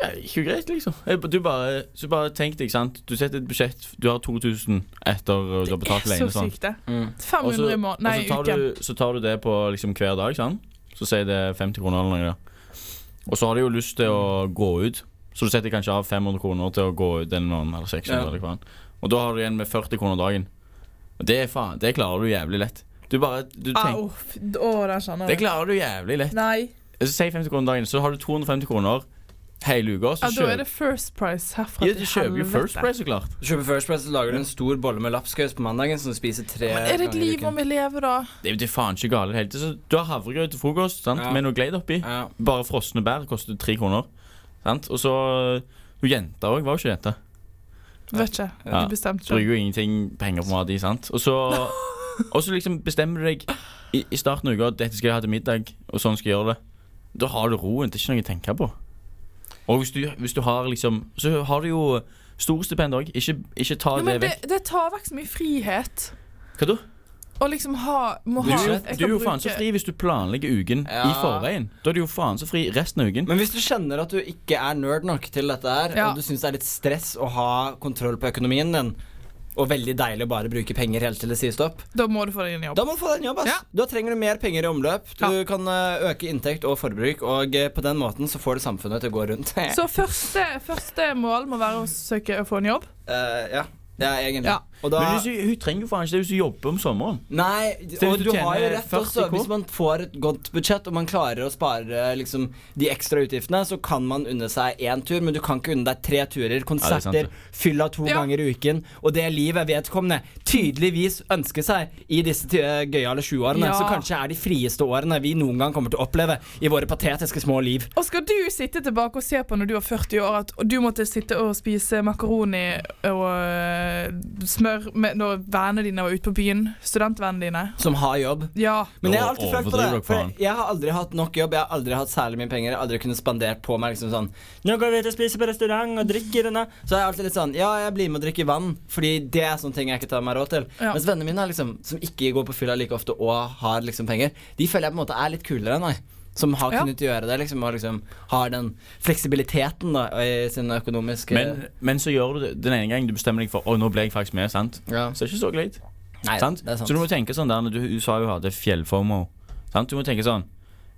S3: ja, Ikke greit liksom jeg, du bare, Så bare tenk deg sant Du setter et budsjett Du har 2000 etter å Du har betalt
S2: så
S3: leine sånn
S2: sykt, det.
S4: Mm.
S2: 500 i måneden. Nei,
S3: og så tar,
S2: uken.
S3: du, så tar du det på liksom hver dag, sant? Så sier det 50 kroner eller noe. da. Og så har du jo lyst til å gå ut, så du setter kanskje av 500 kroner til å gå ut en måned, eller 600
S4: Ja.
S3: eller hva faen. Og da har du igjen med 40 kroner dagen. Og det, er faen, det klarer du jævlig lett. Du bare du tenker,
S2: Au, f- Å, den kjenner
S3: Det
S2: jeg.
S3: klarer du jævlig lett.
S2: Nei.
S3: Så Si 50 kroner dagen, så har du 250 kroner hele
S2: Ja,
S3: uka. Så
S2: da er
S3: kjøper,
S2: det First Price herfra
S3: ja, du kjøper jo First Price, så klart.
S4: Du Kjøper First Price, så lager du en stor bolle med lapskaus på mandagen som du spiser tre
S2: Er det et
S4: ganger i
S2: liv
S4: uken.
S2: om vi lever, da?
S3: Det er jo det er faen ikke galt i det hele tatt. Så Du har havregrøt til frokost sant?
S4: Ja.
S3: med noe Glade oppi.
S4: Ja.
S3: Bare frosne bær koster tre kroner. Sant? Og så eh, Hun jenta òg var jo ikke jente.
S2: Vet ikke.
S3: Ja.
S2: Du bestemte
S3: Bruker
S2: ikke.
S3: jo ingenting penger på mat i, sant. Og så og så liksom bestemmer du deg i, i starten av uka at dette skal jeg ha til middag, og sånn skal jeg gjøre det. Da har du roen. Det er ikke noe å tenke på. Og hvis du, hvis du har liksom Så har du jo storstipend òg. Ikke, ikke ta
S2: Jo,
S3: det
S2: men det,
S3: vekk.
S2: det tar vekk så mye frihet.
S3: Hva da?
S2: Å liksom ha Må
S3: Du,
S2: ha
S3: er jo-
S2: jeg
S3: du er
S2: kan
S3: jo faen så
S2: bruke-
S3: fri hvis du planlegger uken i
S4: Ja.
S3: forveien. Da er du jo faen så fri resten av uken.
S4: Men hvis du kjenner at du ikke er nerd nok til dette her,
S2: Ja.
S4: og du syns det er litt stress å ha kontroll på økonomien din, og veldig deilig å bare bruke penger helt til det sier stopp,
S2: Da må du få deg en jobb.
S4: Da må du få deg en jobb, ass.
S2: Ja.
S4: Da trenger du mer penger i omløp. Du
S2: Ja.
S4: kan eh, øke inntekt og forbruk, og eh, på den måten så får du samfunnet til å gå rundt.
S2: Så første, første mål må være å søke å få en jobb.
S4: Eh, ja. Det er egentlig.
S2: Ja.
S4: Og da
S3: Men hvis du, hun trenger jo faen ikke det hvis hun jobber om sommeren.
S4: Nei,
S3: hvis
S4: og
S3: du
S4: du har jo
S3: tjener
S4: rett også.
S3: 40K.
S4: Hvis man får et godt budsjett og man klarer å spare liksom, de ekstra utgiftene, så kan man unne seg én tur, men du kan ikke unne deg tre turer,
S3: sant,
S4: konserter,
S3: det.
S4: fylla to
S2: Ja.
S4: ganger i uken, og det livet vedkommende tydeligvis ønsker seg i disse ty- gøyale sjuårene,
S2: Ja.
S4: som kanskje er de frieste årene vi noen gang kommer til å oppleve i våre patetiske små liv.
S2: Og skal du sitte tilbake og se på når du er 40 år at du måtte sitte og spise makaroni og øh, smør der med, når vennene dine var ute på byen. Studentvennene dine.
S4: Som har jobb.
S2: Ja.
S4: Men jeg har
S3: Nå
S4: alltid følt på
S3: overdriver
S4: det.
S3: dere,
S4: For
S3: faen.
S4: jeg har aldri hatt nok jobb, jeg har aldri hatt særlig mye penger. Jeg har aldri kunnet spandert på meg liksom sånn Nå går vi ut og spiser på restaurant og drikker og nå. Så jeg er alltid litt sånn Ja, jeg blir med og drikker vann, fordi det er sånne ting jeg ikke tar meg råd til.
S2: Ja.
S4: Mens vennene mine er liksom, som ikke går på fylla like ofte og har liksom penger, de føler jeg på en måte er litt kulere enn meg. Som har
S2: Ja.
S4: kunnet gjøre det, liksom, og liksom har den fleksibiliteten da, i sin økonomiske
S3: Men, men så gjør du det den ene gangen du bestemmer deg for Å, nå ble jeg faktisk med, sant?
S4: ja.
S3: Så det er ikke så greit.
S4: Nei,
S3: sant?
S4: det er sant.
S3: Så du må tenke sånn der når du, du sa jo hadde fjellformer. Sant? Du må tenke sånn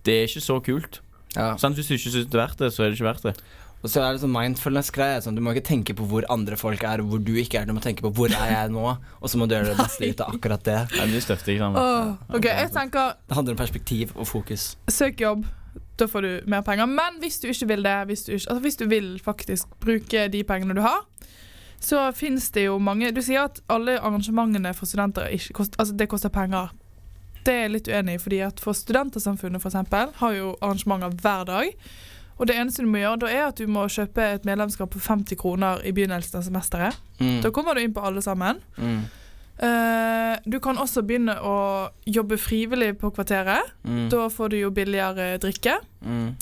S3: Det er ikke så kult.
S4: ja.
S3: Sant? Hvis du ikke syns det er verdt det, så er det ikke verdt det.
S4: Og så er det sånn mindfulness-greie. Sånn, du må ikke tenke på hvor andre folk er, og hvor du ikke er. Du må tenke på hvor er jeg nå, og så må du gjøre det beste ut av akkurat det.
S3: Nei, men det støtter jeg sammen.
S2: Åh, OK, jeg tenker
S4: Det handler om perspektiv og fokus.
S2: søk jobb. Da får du mer penger. Men hvis du ikke vil det, hvis du, ikke, altså hvis du vil faktisk bruke de pengene du har, så fins det jo mange Du sier at alle arrangementene for studenter ikke kost, altså det koster penger. Det er jeg litt uenig i, fordi at for Studentersamfunnet for eksempel, har jo arrangementer hver dag. Og det eneste du må gjøre da, er at du må kjøpe et medlemskap på 50 kroner i begynnelsen av semesteret. Da kommer du inn på alle sammen.
S4: Mm.
S2: Eh, du kan også begynne å jobbe frivillig på kvarteret.
S4: Mm.
S2: Da får du jo billigere drikke.
S4: Mm.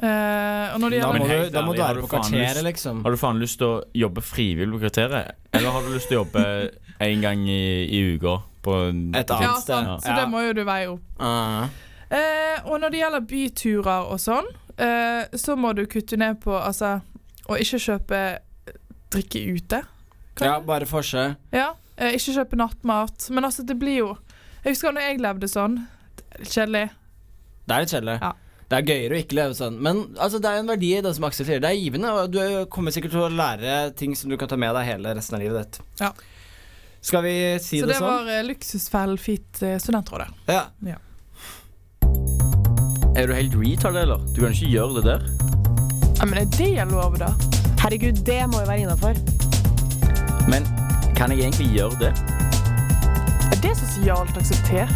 S2: Eh, og når det
S4: Da
S2: gjelder
S4: må,
S3: Men
S4: du,
S3: helt
S4: da må
S3: ærlig,
S4: du
S3: har du
S4: være på
S3: faen
S4: kvarteret,
S3: lyst-
S4: liksom.
S3: Har du faen lyst til å jobbe frivillig på kriteriet? Eller har du lyst til å jobbe en gang i, i uka på en
S4: Et
S2: ja,
S4: annet sted.
S2: sant, Så det må jo du veie opp.
S4: Ah.
S2: Eh, og når det gjelder byturer og sånn, eh, så må du kutte ned på altså å ikke kjøpe eh, drikke ute. Kan-
S4: ja, bare forskjell.
S2: Ja, eh, ikke kjøpe nattmat. Men altså, det blir jo Jeg husker når jeg levde sånn. Kjedelig.
S4: Det er litt kjedelig.
S2: Ja.
S4: Det er gøyere å ikke leve sånn. Men altså, det er jo en verdi i det som Aksel sier. Det er givende, og du kommer sikkert til å lære ting som du kan ta med deg hele resten av livet ditt.
S2: Ja.
S4: Skal vi si
S2: Så
S4: det,
S2: det
S4: sånn?
S2: var eh, luksusfell fit eh, studentrådet.
S4: Ja.
S3: Er du helt retard, eller? Du kan ikke gjøre det der.
S2: Ja, men er det lov, da?
S6: Herregud, det må jo være innafor.
S3: Men kan jeg egentlig gjøre det?
S2: Er det sosialt akseptert?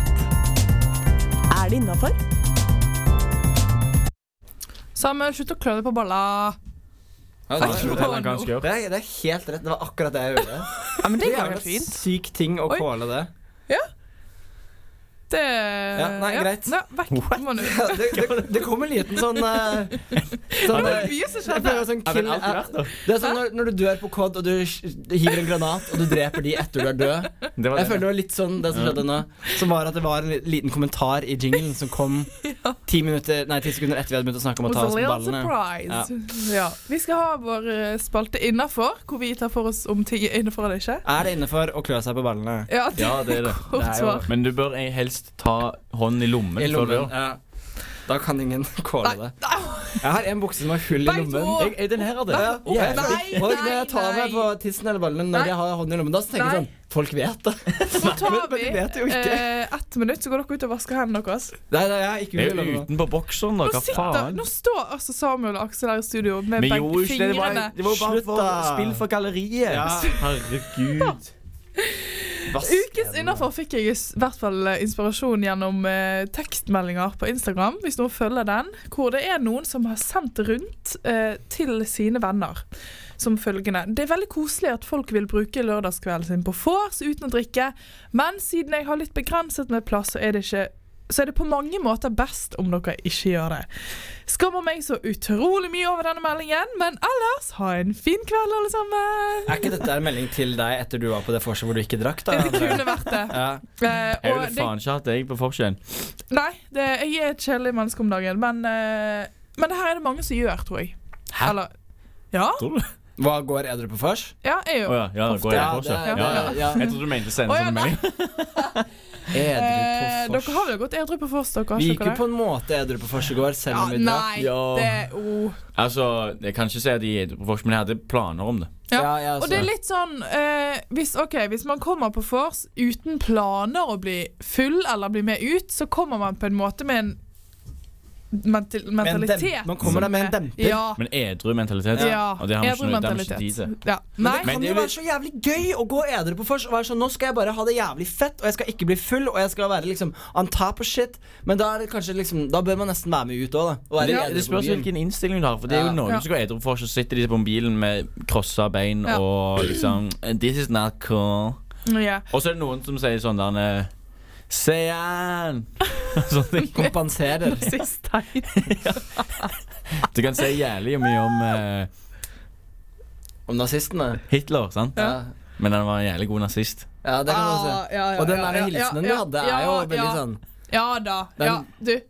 S6: Er det innafor?
S2: Samuel, slutt å klø deg på balla.
S4: Ja, det, var-
S2: Hallo.
S4: det, er, det er helt rett. Det var akkurat det jeg gjorde.
S2: Ja, men det går
S4: er
S2: helt
S4: en
S2: fint.
S4: syk ting å
S2: Oi.
S4: kåle det.
S2: Det
S4: Ja, nei, greit.
S2: Ja, vekk må du.
S4: Ja, det, det, det kom en liten sånn eh,
S2: Det
S4: sånn,
S2: var
S4: eh,
S2: mye som
S4: jeg
S2: skjedde.
S4: føler sånn
S3: Ja,
S4: kill,
S3: men alt er verdt
S4: eh, det er sånn når, når du dør på kod, og du sk- hiver en granat, og du dreper de etter du er død.
S3: Det var
S4: Jeg føler det var litt sånn det som skjedde nå, som var at det var en li- liten kommentar i jinglen som kom ti, minutter, nei, ti sekunder etter vi hadde begynt å snakke om å
S2: Was a
S4: ta oss på
S2: little
S4: ballene.
S2: surprise. Ja. Vi skal ha vår eh, spalte innafor, hvor vi tar for oss om ting er innafor eller ikke.
S4: Er det innafor å klø seg på ballene?
S2: Ja, det
S3: Ja, det er det.
S2: er kort
S4: det er jo-
S2: svar.
S3: Men du bør helst ta hånden i lommen.
S4: I
S3: før du
S4: lommen.
S3: gjør.
S4: Ja. Da kan ingen kåle det. Jeg har en bukse som har hull i
S2: Begge to.
S4: lommen.
S2: Jeg-
S4: den her hadde jeg.
S2: Nei,
S4: Ja,
S2: nei,
S4: jævlig. Og når jeg tar
S2: nei,
S4: meg på tissen eller ballen
S2: Nei.
S4: når jeg har hånden i lommen, da så tenker
S2: Nei.
S4: jeg sånn Folk vet det.
S2: Så tar
S4: Men- men
S2: vi
S4: de vet jo ikke.
S2: eh, ett minutt, så går dere ut og vasker hendene deres.
S4: Nei, nei, jeg har ikke
S3: Jeg
S4: hull i
S3: er jo
S4: lommen.
S3: utenpå bokseren, da.
S2: Nå,
S3: Hva
S2: sitter,
S3: faen?
S2: nå står altså Samuel og Aksel her i studio med
S3: Vi
S2: begge
S3: gjorde jo ikke det. Det var-
S2: fingrene.
S3: Det var jo bare
S4: Slutt,
S3: for
S4: da.
S3: spill for galleriet.
S4: Ja.
S3: Herregud.
S2: Ukes innafor fikk jeg i s- hvert fall eh, inspirasjon gjennom eh, tekstmeldinger på Instagram, hvis noen følger den, hvor det er noen som har sendt rundt eh, til sine venner som følgende. Det er veldig koselig at folk vil bruke lørdagskvelden sin på vors uten å drikke, men siden jeg har litt begrenset med plass, så er det ikke så er det på mange måter best om dere ikke gjør det. Skammer meg så utrolig mye over denne meldingen, men ellers ha en fin kveld, alle sammen!
S4: Er ikke dette en melding til deg etter du var på det vorset hvor du ikke drakk, da?
S2: Det kunne vært det.
S4: Ja.
S2: Eh,
S3: Jeg
S2: og
S3: ville
S2: det
S3: faen ikke hatt deg på forskjellen.
S2: Nei, det, jeg er et kjedelig menneske om dagen, men, eh, men det her er det mange som gjør, tror jeg.
S4: Hæ?
S2: Eller Ja,
S3: Tror du? Å
S4: Hva går edru på vors?
S2: ja jeg er jo
S3: ja. ja, går jeg på forskjell?
S2: det-
S3: Ja, ja.
S4: ja.
S3: Jeg trodde du mente å sende
S2: Å, ja,
S3: sånn melding.
S2: eh,
S4: Edru på
S2: Dere
S4: vors.
S2: har jo gått edru på vors, dere. har
S4: Vi
S2: ikke
S4: gikk jo
S2: dere?
S4: på en måte edru på vors i går, selv
S2: ja,
S4: om vi drakk.
S2: Nei,
S3: Ja.
S2: det oh.
S3: Altså, jeg kan ikke si at de er på forskjell, men jeg hadde planer om det.
S2: Ja,
S4: jeg
S2: Og
S4: også.
S2: det er litt sånn eh, hvis, ok, hvis man kommer på vors uten planer å bli full eller bli med ut, så kommer man på en måte med en mental
S4: Med en dem-
S2: mentalitet.
S4: Man kommer der med en demper.
S2: Ja.
S3: Men edru mentalitet.
S2: Ah. ja.
S3: Og det har vi ikke,
S2: Edru
S3: noe- det har vi ikke tid til.
S2: Ja.
S4: Men
S2: Nei,
S4: det kan
S3: Men
S4: jo
S3: det
S4: være så jævlig gøy å gå edru på vors og være sånn Nå skal jeg bare ha det jævlig fett, og jeg skal ikke bli full, og jeg skal være liksom on top of shit. Men da er det kanskje liksom Da bør man nesten være med ut òg, da. Og være
S3: Det, det
S4: edru på
S3: spørs
S4: byen.
S3: hvilken innstilling du har. For det er jo
S4: Ja.
S3: noen
S2: Ja.
S3: som går edru for, så sitter de på bilen med krossa bein
S2: Ja.
S3: og liksom This is not cool.
S2: ja.
S3: Og så er det noen som sier sånn der eh, Sånn, Sean! Sånne ting.
S4: Kompenserer.
S2: Sist tegn.
S3: Du kan si jævlig mye om eh,
S4: Om nazistene.
S3: Hitler, sant?
S4: Ja.
S3: Men han var en jævlig god nazist.
S4: ja, det kan du også
S2: Ah, ja, ja,
S4: Og den
S2: ja,
S4: der
S2: ja,
S4: hilsenen
S2: ja,
S4: du hadde,
S2: ja,
S4: er jo veldig
S2: ja.
S4: sånn
S2: Ja da.
S4: Den-
S2: Ja, du.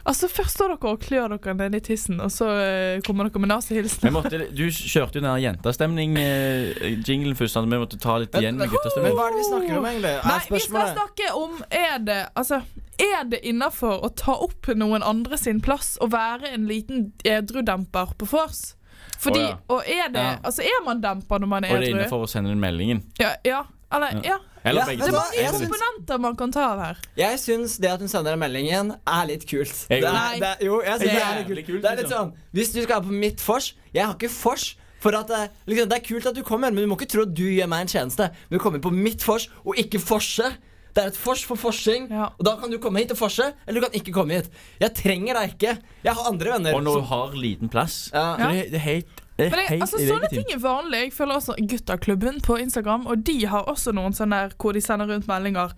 S2: Altså, først står dere og klør dere ned i tissen, og så eh, kommer dere med
S3: Jeg
S2: nazihilsen.
S3: måtte, du kjørte jo den der jentastemning-jinglen først, så vi måtte ta litt igjen med
S4: Men
S3: guttastemning.
S4: hva er det vi snakker om, egentlig?
S2: Nei,
S4: Er
S2: vi skal
S4: spørsmålet
S2: snakke om Er det altså, er det innafor å ta opp noen andre sin plass og være en liten edrudemper på vors? Fordi,
S3: Å, ja.
S2: Og er det
S4: Ja.
S2: Altså, er man demper når man
S3: Og
S2: er
S3: det er
S2: edru?
S3: innenfor å sende den meldingen.
S2: Ja, ja. Eller, ja.
S3: Eller
S4: Ja,
S3: begge
S4: vet du
S3: to.
S4: hva? Jeg syns-
S2: Komponenter man kan ta av her.
S4: Jeg syns det at hun sender en melding igjen, er litt kult.
S3: Jeg
S4: det
S3: går.
S4: er, det er, jo, jeg synes det er
S3: Jævlig
S4: litt
S3: kult,
S4: kult. Det er litt sånn Hvis du skal være på mitt vors Jeg har ikke vors. For at eh, liksom, Det er kult at du kommer, men du må ikke tro at du gjør meg en tjeneste. Du kommer på mitt vors og ikke forse. Det er et vors for forsing.
S2: Ja.
S4: Og da kan du komme hit og forse, eller du kan ikke komme hit. Jeg trenger deg ikke. Jeg har andre venner.
S3: Og når
S4: som-
S3: du har liten plass.
S4: Ja.
S3: Så det, det er helt, det er
S2: Men det,
S3: helt
S2: altså, sånne
S3: illegitimt.
S2: ting er vanlig. Jeg følger også Guttaklubben på Instagram, og de har også noen sånne der hvor de sender rundt meldinger.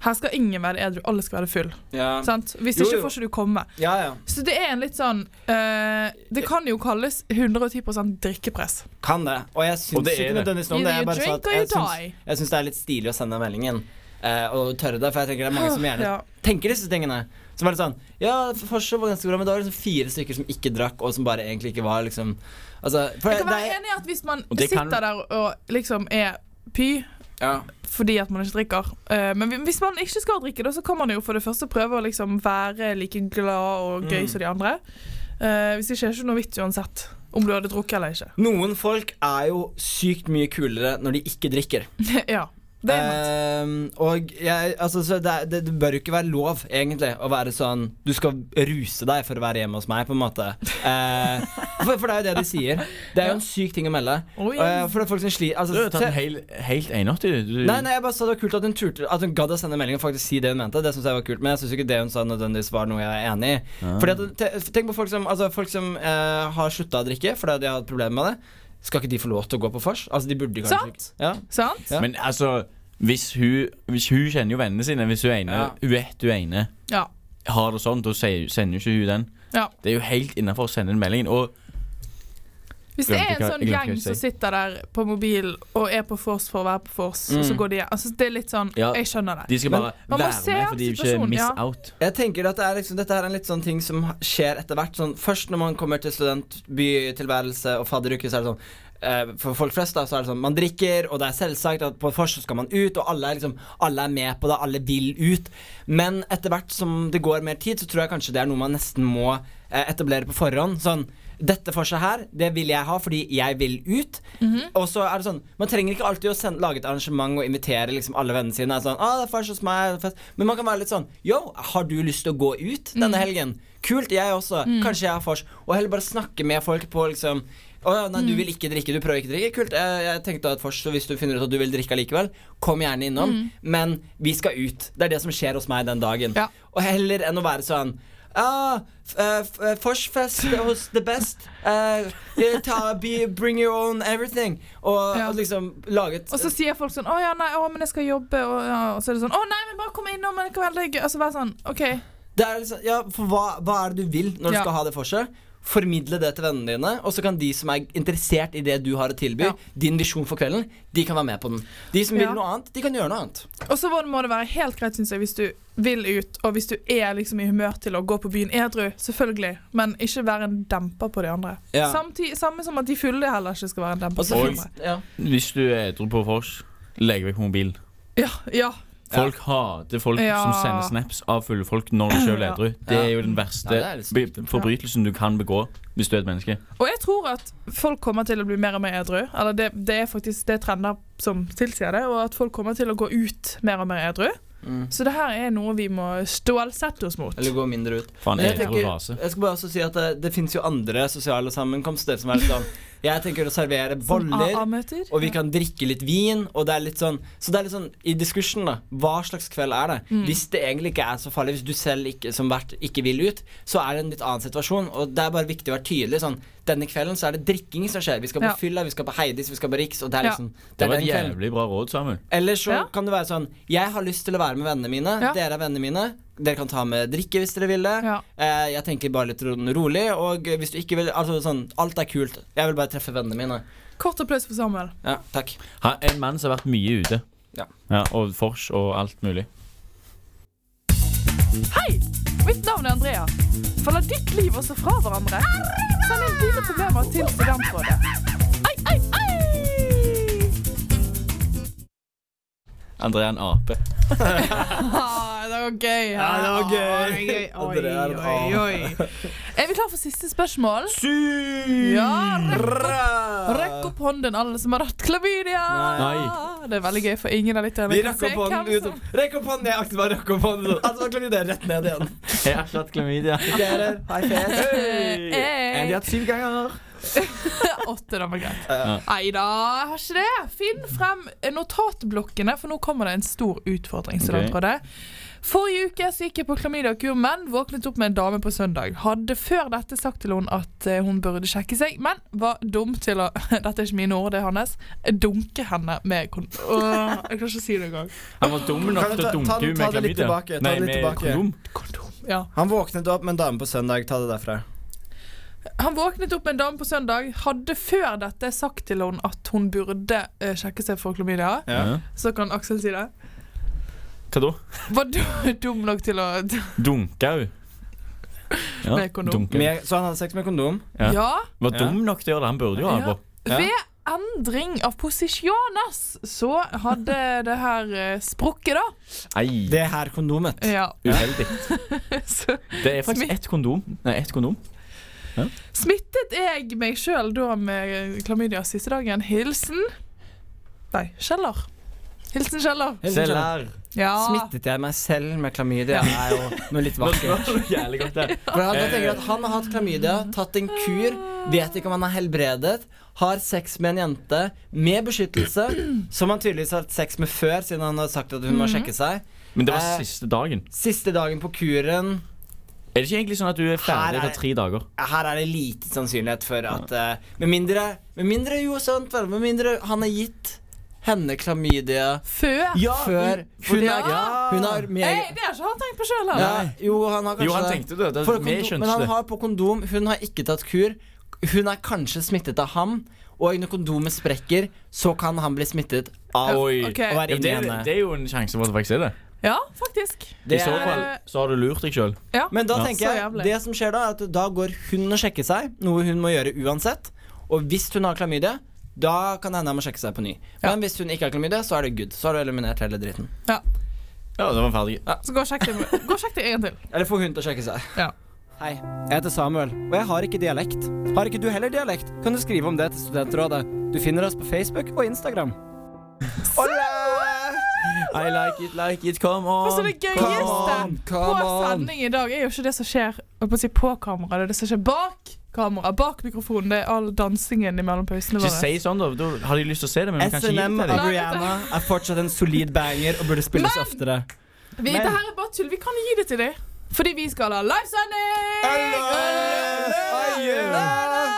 S2: Her skal ingen være edru, alle skal være full.
S4: ja.
S2: Sant? Hvis
S4: Jo,
S2: ikke
S4: jo.
S2: får ikke du komme.
S4: ja, ja.
S2: Så det er en litt sånn eh, Det kan jo kalles 110 drikkepress.
S4: Kan det. Og jeg
S3: Og
S4: syns
S3: det er
S4: ikke
S3: det.
S4: nødvendigvis noe om
S2: You
S4: det. Jeg, bare sa
S2: drink
S4: at
S2: or you
S4: jeg, syns,
S2: die.
S4: jeg syns det er litt stilig å sende meldingen. eh, og tørre det, for jeg tenker det er mange som gjerne
S2: Ja.
S4: tenker disse tingene. Som er litt sånn Ja, Forsa var ganske bra, men det var liksom fire stykker som ikke drakk, og som bare egentlig ikke var liksom Altså for
S2: Jeg kan
S4: det
S2: være
S4: er-
S2: enig i at hvis man
S3: Eh, Og det kan-
S2: sitter der og liksom er py
S4: ja.
S2: fordi at man ikke drikker. Eh, men hvis man ikke skal drikke, da, så kan man jo for det første prøve å liksom være like glad og
S3: Mm.
S2: gøy som de andre. Eh, hvis ikke er det ikke noe vits uansett om du hadde drukket eller ikke.
S4: Noen folk er jo sykt mye kulere når de ikke drikker.
S2: ja, det er sant.
S4: Ehm, og jeg, altså, så det, er- det, det bør jo ikke være lov, egentlig, å være sånn Du skal ruse deg for å være hjemme hos meg, på en måte. Eh, for, for det er jo det de sier. Det er jo en syk ting å melde.
S2: Oi.
S4: Eh, for det er folk som sliter
S3: Du har jo
S4: altså,
S3: tatt
S4: se-
S3: en hel, helt enåttig, du. du
S4: Nei, nei, jeg bare sa det var kult at hun turte At hun gadd å sende melding og faktisk si det hun mente. Det synes jeg var kult Men jeg syns ikke det hun sa, nødvendigvis var noe jeg er enig i. Fordi at, te- Tenk på folk som, altså, folk som eh, har slutta å drikke fordi de har hatt problemer med det. Skal ikke de få lov til å gå på vors? Altså, de burde kanskje
S2: Sant?
S4: ikke- Ja.
S2: Sant?
S4: Ja.
S3: Men altså, hvis hun, hvis hun kjenner jo vennene sine, hvis hun er ene,
S4: Ja.
S3: hun vet hun er ene,
S2: Ja.
S3: har det sånn, da sier- sender jo ikke hun den.
S2: Ja.
S3: Det er jo helt innafor å sende den meldingen. Og
S2: Hvis det er
S3: Glemte
S2: en
S3: hva-
S2: sånn
S3: jeg glemte hva
S2: gjeng
S3: jeg
S2: som
S3: skulle
S2: sitter der på mobilen og er på vors for å være på vors, og så går de hjem. Altså, det er litt sånn
S3: Ja.
S2: Jeg skjønner det.
S3: de skal
S4: Men-
S3: bare
S2: Man må
S3: være
S2: se
S3: med, for de er jo ikke
S2: situasjonen,
S3: miss
S2: ja.
S3: out.
S4: Jeg tenker at det er liksom, Dette her er en litt sånn ting som ha- skjer etter hvert. Sånn, først når man kommer til studentbytilværelse og fadderuke, så er det sånn eh, For folk flest da, så er det sånn man drikker, og det er selvsagt at på et vors så skal man ut, og alle er, liksom, alle er med på det, alle vil ut. Men etter hvert som det går mer tid, så tror jeg kanskje det er noe man nesten må eh, etablere på forhånd. Sånn dette forset her, det vil jeg ha fordi jeg vil ut. Og så er det sånn Man trenger ikke alltid å sende, lage et arrangement og invitere liksom alle vennene sine. Er sånn, ah, det er vors hos meg, det er fest. Men man kan være litt sånn Yo, har du lyst til å gå ut denne helgen? Kult, jeg også. Kanskje jeg har vors. Og heller bare snakke med folk på liksom å ja, nei, du vil ikke drikke, du prøver ikke å drikke. Kult. Jeg, jeg tenkte å ha et vors, så hvis du finner ut at du vil drikke allikevel, kom gjerne innom. Men vi skal ut. Det er det som skjer hos meg den dagen.
S2: Ja.
S4: Og heller enn å være sånn Ah, f- eh, f- eh, Forsfest hos the best. Eh, eh, ta, be, bring your own everything. Og,
S2: Ja.
S4: og liksom lage et
S2: Og så sier folk sånn 'Å ja, nei, å, men jeg skal jobbe', og, ja. og så er det sånn 'Å nei, men bare kom innom, men det kan være veldig gøy'. Altså bare sånn OK.
S4: det er liksom, ja, for hva, hva er det du vil når du
S2: Ja.
S4: skal ha det for seg? Formidle det til vennene dine, og så kan de som er interessert i det du har å tilby,
S2: Ja.
S4: din visjon for kvelden, de kan være med på den. De som
S2: Ja.
S4: vil noe annet, de kan gjøre noe annet.
S2: Og så må det- må det være helt greit, syns jeg, hvis du vil ut, og hvis du er liksom i humør til å gå på byen edru, selvfølgelig, men ikke være en demper på de andre.
S4: Ja.
S2: Samti- samme som at de fulle heller ikke skal være en demper
S4: Og så
S2: på de
S4: finnes-
S2: andre.
S4: ja.
S3: Hvis du er edru på vors, legg vekk mobilen.
S2: Ja, ja.
S3: Folk hater folk
S2: Ja.
S3: som sender snaps av fulle folk når de sjøl er edru. Det er jo den verste
S4: Ja, det er litt stygt.
S3: be- forbrytelsen du kan begå hvis du er et menneske.
S2: Og jeg tror at folk kommer til å bli mer og mer edru. Eller det, det er faktisk det er trender som tilsier det, og at folk kommer til å gå ut mer og mer edru. Så det her er noe vi må stålsette oss mot.
S4: Mm. Eller gå mindre ut.
S3: Faen,
S4: Men jeg
S3: jeg er
S4: tenker-
S3: på rase.
S4: Jeg skal bare også si at eh, det, det finnes jo andre sosiale sammenkomster som er litt sånn Jeg tenker å servere
S2: Som
S4: boller.
S2: AA-møter.
S4: Og vi kan drikke litt vin, og det er litt sånn Så det er litt sånn i diskursen, da. Hva slags kveld er det?
S2: Mm.
S4: Hvis det egentlig ikke er så farlig, hvis du selv ikke, som vert ikke vil ut, så er det en litt annen situasjon, og det er bare viktig å være tydelig. Sånn denne kvelden så er det drikking som skjer. Vi skal på
S2: Ja.
S4: fylla, vi skal på Heidis, vi skal på Riks, og det er
S2: Ja.
S4: liksom
S3: Det var
S4: den
S3: et
S4: kvelden.
S3: jævlig bra råd, Samuel.
S4: Eller så
S2: Ja.
S4: kan det være sånn Jeg har lyst til å være med vennene mine.
S2: Ja.
S4: Dere er vennene mine. Dere kan ta med drikke hvis dere vil det.
S2: Ja.
S4: Eh, jeg tenker bare litt ro- rolig. Og hvis du ikke vil Altså sånn Alt er kult. Jeg vil bare treffe vennene mine.
S2: Kort applaus for Samuel.
S4: Ja, takk.
S3: Han er en mann som har vært mye ute.
S4: Ja.
S3: Og fors og alt mulig.
S2: Hei! Mitt navn er Andrea. Faller ditt liv også fra hverandre? Send inn dine problemer til Studentrådet. Ei, ei, ei!
S3: André er en ape.
S2: Ah, det var gøy. Ja,
S4: det var gøy.
S2: Oi,
S4: Andrea er en
S2: oi, oi. Er vi klar for siste spørsmål? Ja, Rekk opp hånden, alle som har hatt klamydia.
S3: Nei.
S2: Det er veldig gøy, for ingen av lytterne
S4: Vi rakk opp hånden.
S2: hvem som
S4: ut. Rekk opp hånden. Jeg aktivt bare rakk opp hånden. sånn. Altså, klarer du det rett ned igjen.
S3: Jeg har ikke hatt klamydia.
S4: Gratulerer. High five.
S2: Hey.
S4: hatt syv ganger.
S2: Eh, Åtte, da var greit. Nei da, jeg har ikke det. Finn frem notatblokkene, for nå kommer det en stor utfordring. Studentrådet. Forrige uke så gikk jeg på klamydiakur, men våknet opp med en dame på søndag. Hadde før dette sagt til henne at eh, hun burde sjekke seg, men var dum til å Dette er ikke mine ord, det er hans. Dunke henne med kon... Åh, jeg kan ikke si det engang.
S3: Han var dum nok
S4: Kan du
S3: til
S4: ta-
S3: å dunke
S4: ta-
S3: henne
S4: ta
S3: med
S4: det litt
S3: klamydia.
S4: tilbake, ta
S3: Nei,
S4: det litt
S3: med
S4: tilbake.
S3: kondom.
S2: Ja.
S4: Han våknet opp med en dame på søndag. Ta det derfra.
S2: Han våknet opp med en dame på søndag, hadde før dette sagt til henne at hun burde eh, sjekke seg for klamydia.
S3: Ja.
S2: Så kan Aksel si det.
S3: Hva da?
S2: Var du dum nok til å
S3: Dunka hun? Ja,
S2: Med kondom.
S3: dunka hun.
S4: Med, så han hadde sex med kondom.
S3: Ja.
S2: Ja.
S3: Var dum nok til å gjøre det. Han burde jo ha det
S2: Ja.
S3: på.
S4: Ja.
S2: Ved endring av posisjonas så hadde det her eh, sprukket, da.
S3: Ei,
S4: Det her kondomet.
S2: Ja.
S3: uheldig.
S2: Så
S3: Det er faktisk ett kondom. Nei, ett kondom.
S2: smittet jeg meg sjøl da med klamydia siste dagen. Hilsen Nei, Kjeller. Hilsen Kjeller.
S4: Helt
S3: Se
S4: sånn.
S3: der.
S2: Ja.
S4: Smittet jeg meg selv med klamydia? Det er jo noe litt
S3: Det
S4: vakkert.
S3: var jævlig godt, det.
S4: For han da tenker jeg at han har hatt klamydia, tatt en kur, vet ikke om han er helbredet, har sex med en jente med beskyttelse, som han tydeligvis har hatt sex med før, siden han har sagt at hun må
S2: Mm.
S4: sjekke seg.
S3: Men det var
S4: Eh,
S3: siste dagen.
S4: Siste dagen på kuren.
S3: Er det ikke egentlig sånn at du er
S4: Her
S3: ferdig
S4: er det.
S3: etter tre dager?
S4: Her er det lite sannsynlighet for at eh, Med mindre Med mindre jo sant, vel, med mindre han har gitt henne klamydia
S2: Før.
S4: før
S2: fordi-
S4: hun, har,
S2: Ja.
S4: hun har
S2: Hey,
S4: med,
S2: det har ikke han tenkt på sjøl,
S4: ja,
S2: heller.
S4: Jo, han har kanskje
S3: Jo, han
S4: det.
S3: tenkte det. det vi
S4: For kondom, men
S3: skjønte
S4: han
S3: det.
S4: har på kondom, hun har ikke tatt kur. Hun er kanskje smittet av ham, og når kondomet sprekker, så kan han bli smittet av
S3: Oi.
S2: Ok.
S4: å være
S3: Ja, det,
S4: inni
S3: er-
S4: henne.
S3: det er jo en sjanse for at det faktisk er det.
S2: Ja, faktisk.
S4: Det
S3: I så
S4: er-
S3: fall så har du lurt deg sjøl.
S2: Ja.
S4: Men da
S3: Ja.
S4: tenker
S2: Så
S4: jeg
S2: jævlig.
S4: det som skjer da, er at da går hun og sjekker seg, noe hun må gjøre uansett. Og hvis hun har klamydia, da kan det hende han må sjekke seg på ny.
S2: Ja.
S4: Men hvis hun ikke har klamydia, så er det good. Så har du eliminert hele dritten.
S2: ja.
S3: Ja, da var vi ferdige.
S2: Så gå og sjekk det gå og sjekk det en gang til.
S4: Eller få hun til å sjekke seg.
S2: Ja.
S4: Hei, jeg heter Samuel, og jeg har ikke dialekt. Har ikke du heller dialekt, kan du skrive om det til Studentrådet. Du finner oss på Facebook og Instagram.
S3: I like it, like it, come on.
S2: Og så det gøyeste på sending i dag er jo ikke det som skjer jeg på, å si, på kamera, det er det som skjer bak kamera, bak mikrofonen. Det er all dansingen i mellompausene
S3: Ikke
S2: våre.
S3: si sånn, da. Da har de lyst til å se det, men vi kan ikke gi det
S4: SNM
S3: til dem.
S4: av
S2: Nei,
S4: Rihanna er fortsatt en solid banger og burde spilles oftere.
S2: Vi, det her er bare tull. Vi kan gi det til dem. Fordi vi skal ha livesending!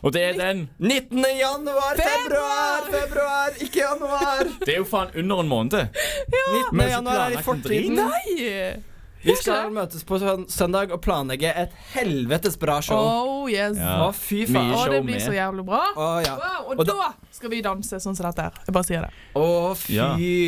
S3: Og det er den.
S4: 19. januar, februar, februar, ikke januar.
S3: Det er jo faen under en måned.
S4: 19.
S3: Men så
S4: januar er i
S3: planlagt en
S4: fortiden.
S2: Nei!
S4: Vi skal møtes på søn- søndag og planlegge et helvetes bra show.
S2: Oh yes.
S3: Ja.
S4: Å, fy
S2: Å,
S3: Mye
S4: faen.
S2: det
S3: show
S2: blir
S3: med.
S2: så jævlig bra.
S4: Å, ja.
S2: Wow,
S4: Og
S2: og da skal vi danse sånn som dette her. Jeg bare sier det.
S4: Å, fy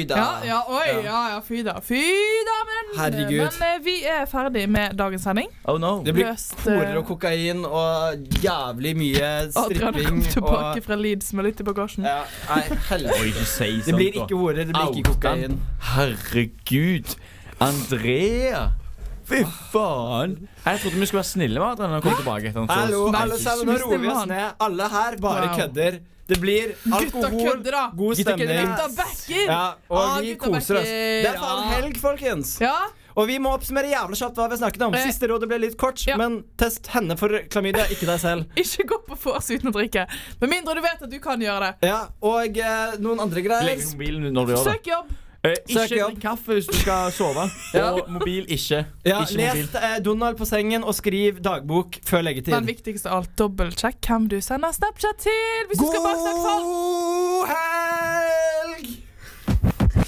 S4: da.
S2: Ja, ja, oi, ja, ja, fy da. Fy da, men,
S4: Herregud.
S2: men eh, vi er ferdig med dagens sending.
S3: Oh no.
S4: Det blir
S2: Løst, eh,
S4: horer og kokain og jævlig mye
S2: Adrian kom
S4: stripping
S2: tilbake
S4: og
S2: fra Leeds med litt i bagasjen.
S4: ja, Nei, helvete.
S3: Oi, ikke si sånn.
S4: Det blir ikke horer, det blir ikke kokain.
S3: Herregud. Andrea.
S1: Fy faen.
S3: Ah. Jeg trodde vi skulle være snille med hverandre når han kom tilbake. etter sånn han så-
S4: Hallo,
S2: Nei,
S4: alle sammen, nå
S2: ikke
S4: roer vi
S2: bestemme
S4: oss
S2: han.
S4: ned. Alle her bare
S2: Wow.
S4: kødder. Det blir
S2: Gutta
S4: alkohol,
S2: kødder, da!
S4: god
S3: Gutta kødder.
S4: stemning.
S2: Gutta backer!
S4: Ja,
S2: Ah,
S4: og vi
S2: gutta
S4: koser oss.
S2: backer.
S4: Det er faen
S2: Ja.
S4: helg, folkens.
S2: Ja,
S4: Og vi må oppsummere jævla kjapt hva vi snakket om.
S2: Eh,
S4: Siste rådet ble litt kort,
S2: ja.
S4: men test henne for klamydia, ikke deg selv.
S2: ikke gå på vors uten å drikke. Med mindre du vet at du kan gjøre det.
S4: Ja, Og eh, noen andre greier.
S3: Legg mobilen når du gjør det.
S2: Søk jobb.
S3: Eh,
S4: Søk
S3: ikke
S4: jobb.
S3: drikk kaffe hvis du skal sove.
S4: Ja.
S3: Og mobil ikke.
S4: Ja,
S3: ikke mobil.
S4: les eh, Donald på sengen og skriv dagbok før
S2: Den
S4: leggetid.
S2: viktigste av alt, dobbeltsjekk hvem du sender Snapchat til hvis du skal baksnakke folk.
S4: God helg!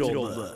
S7: Rådet.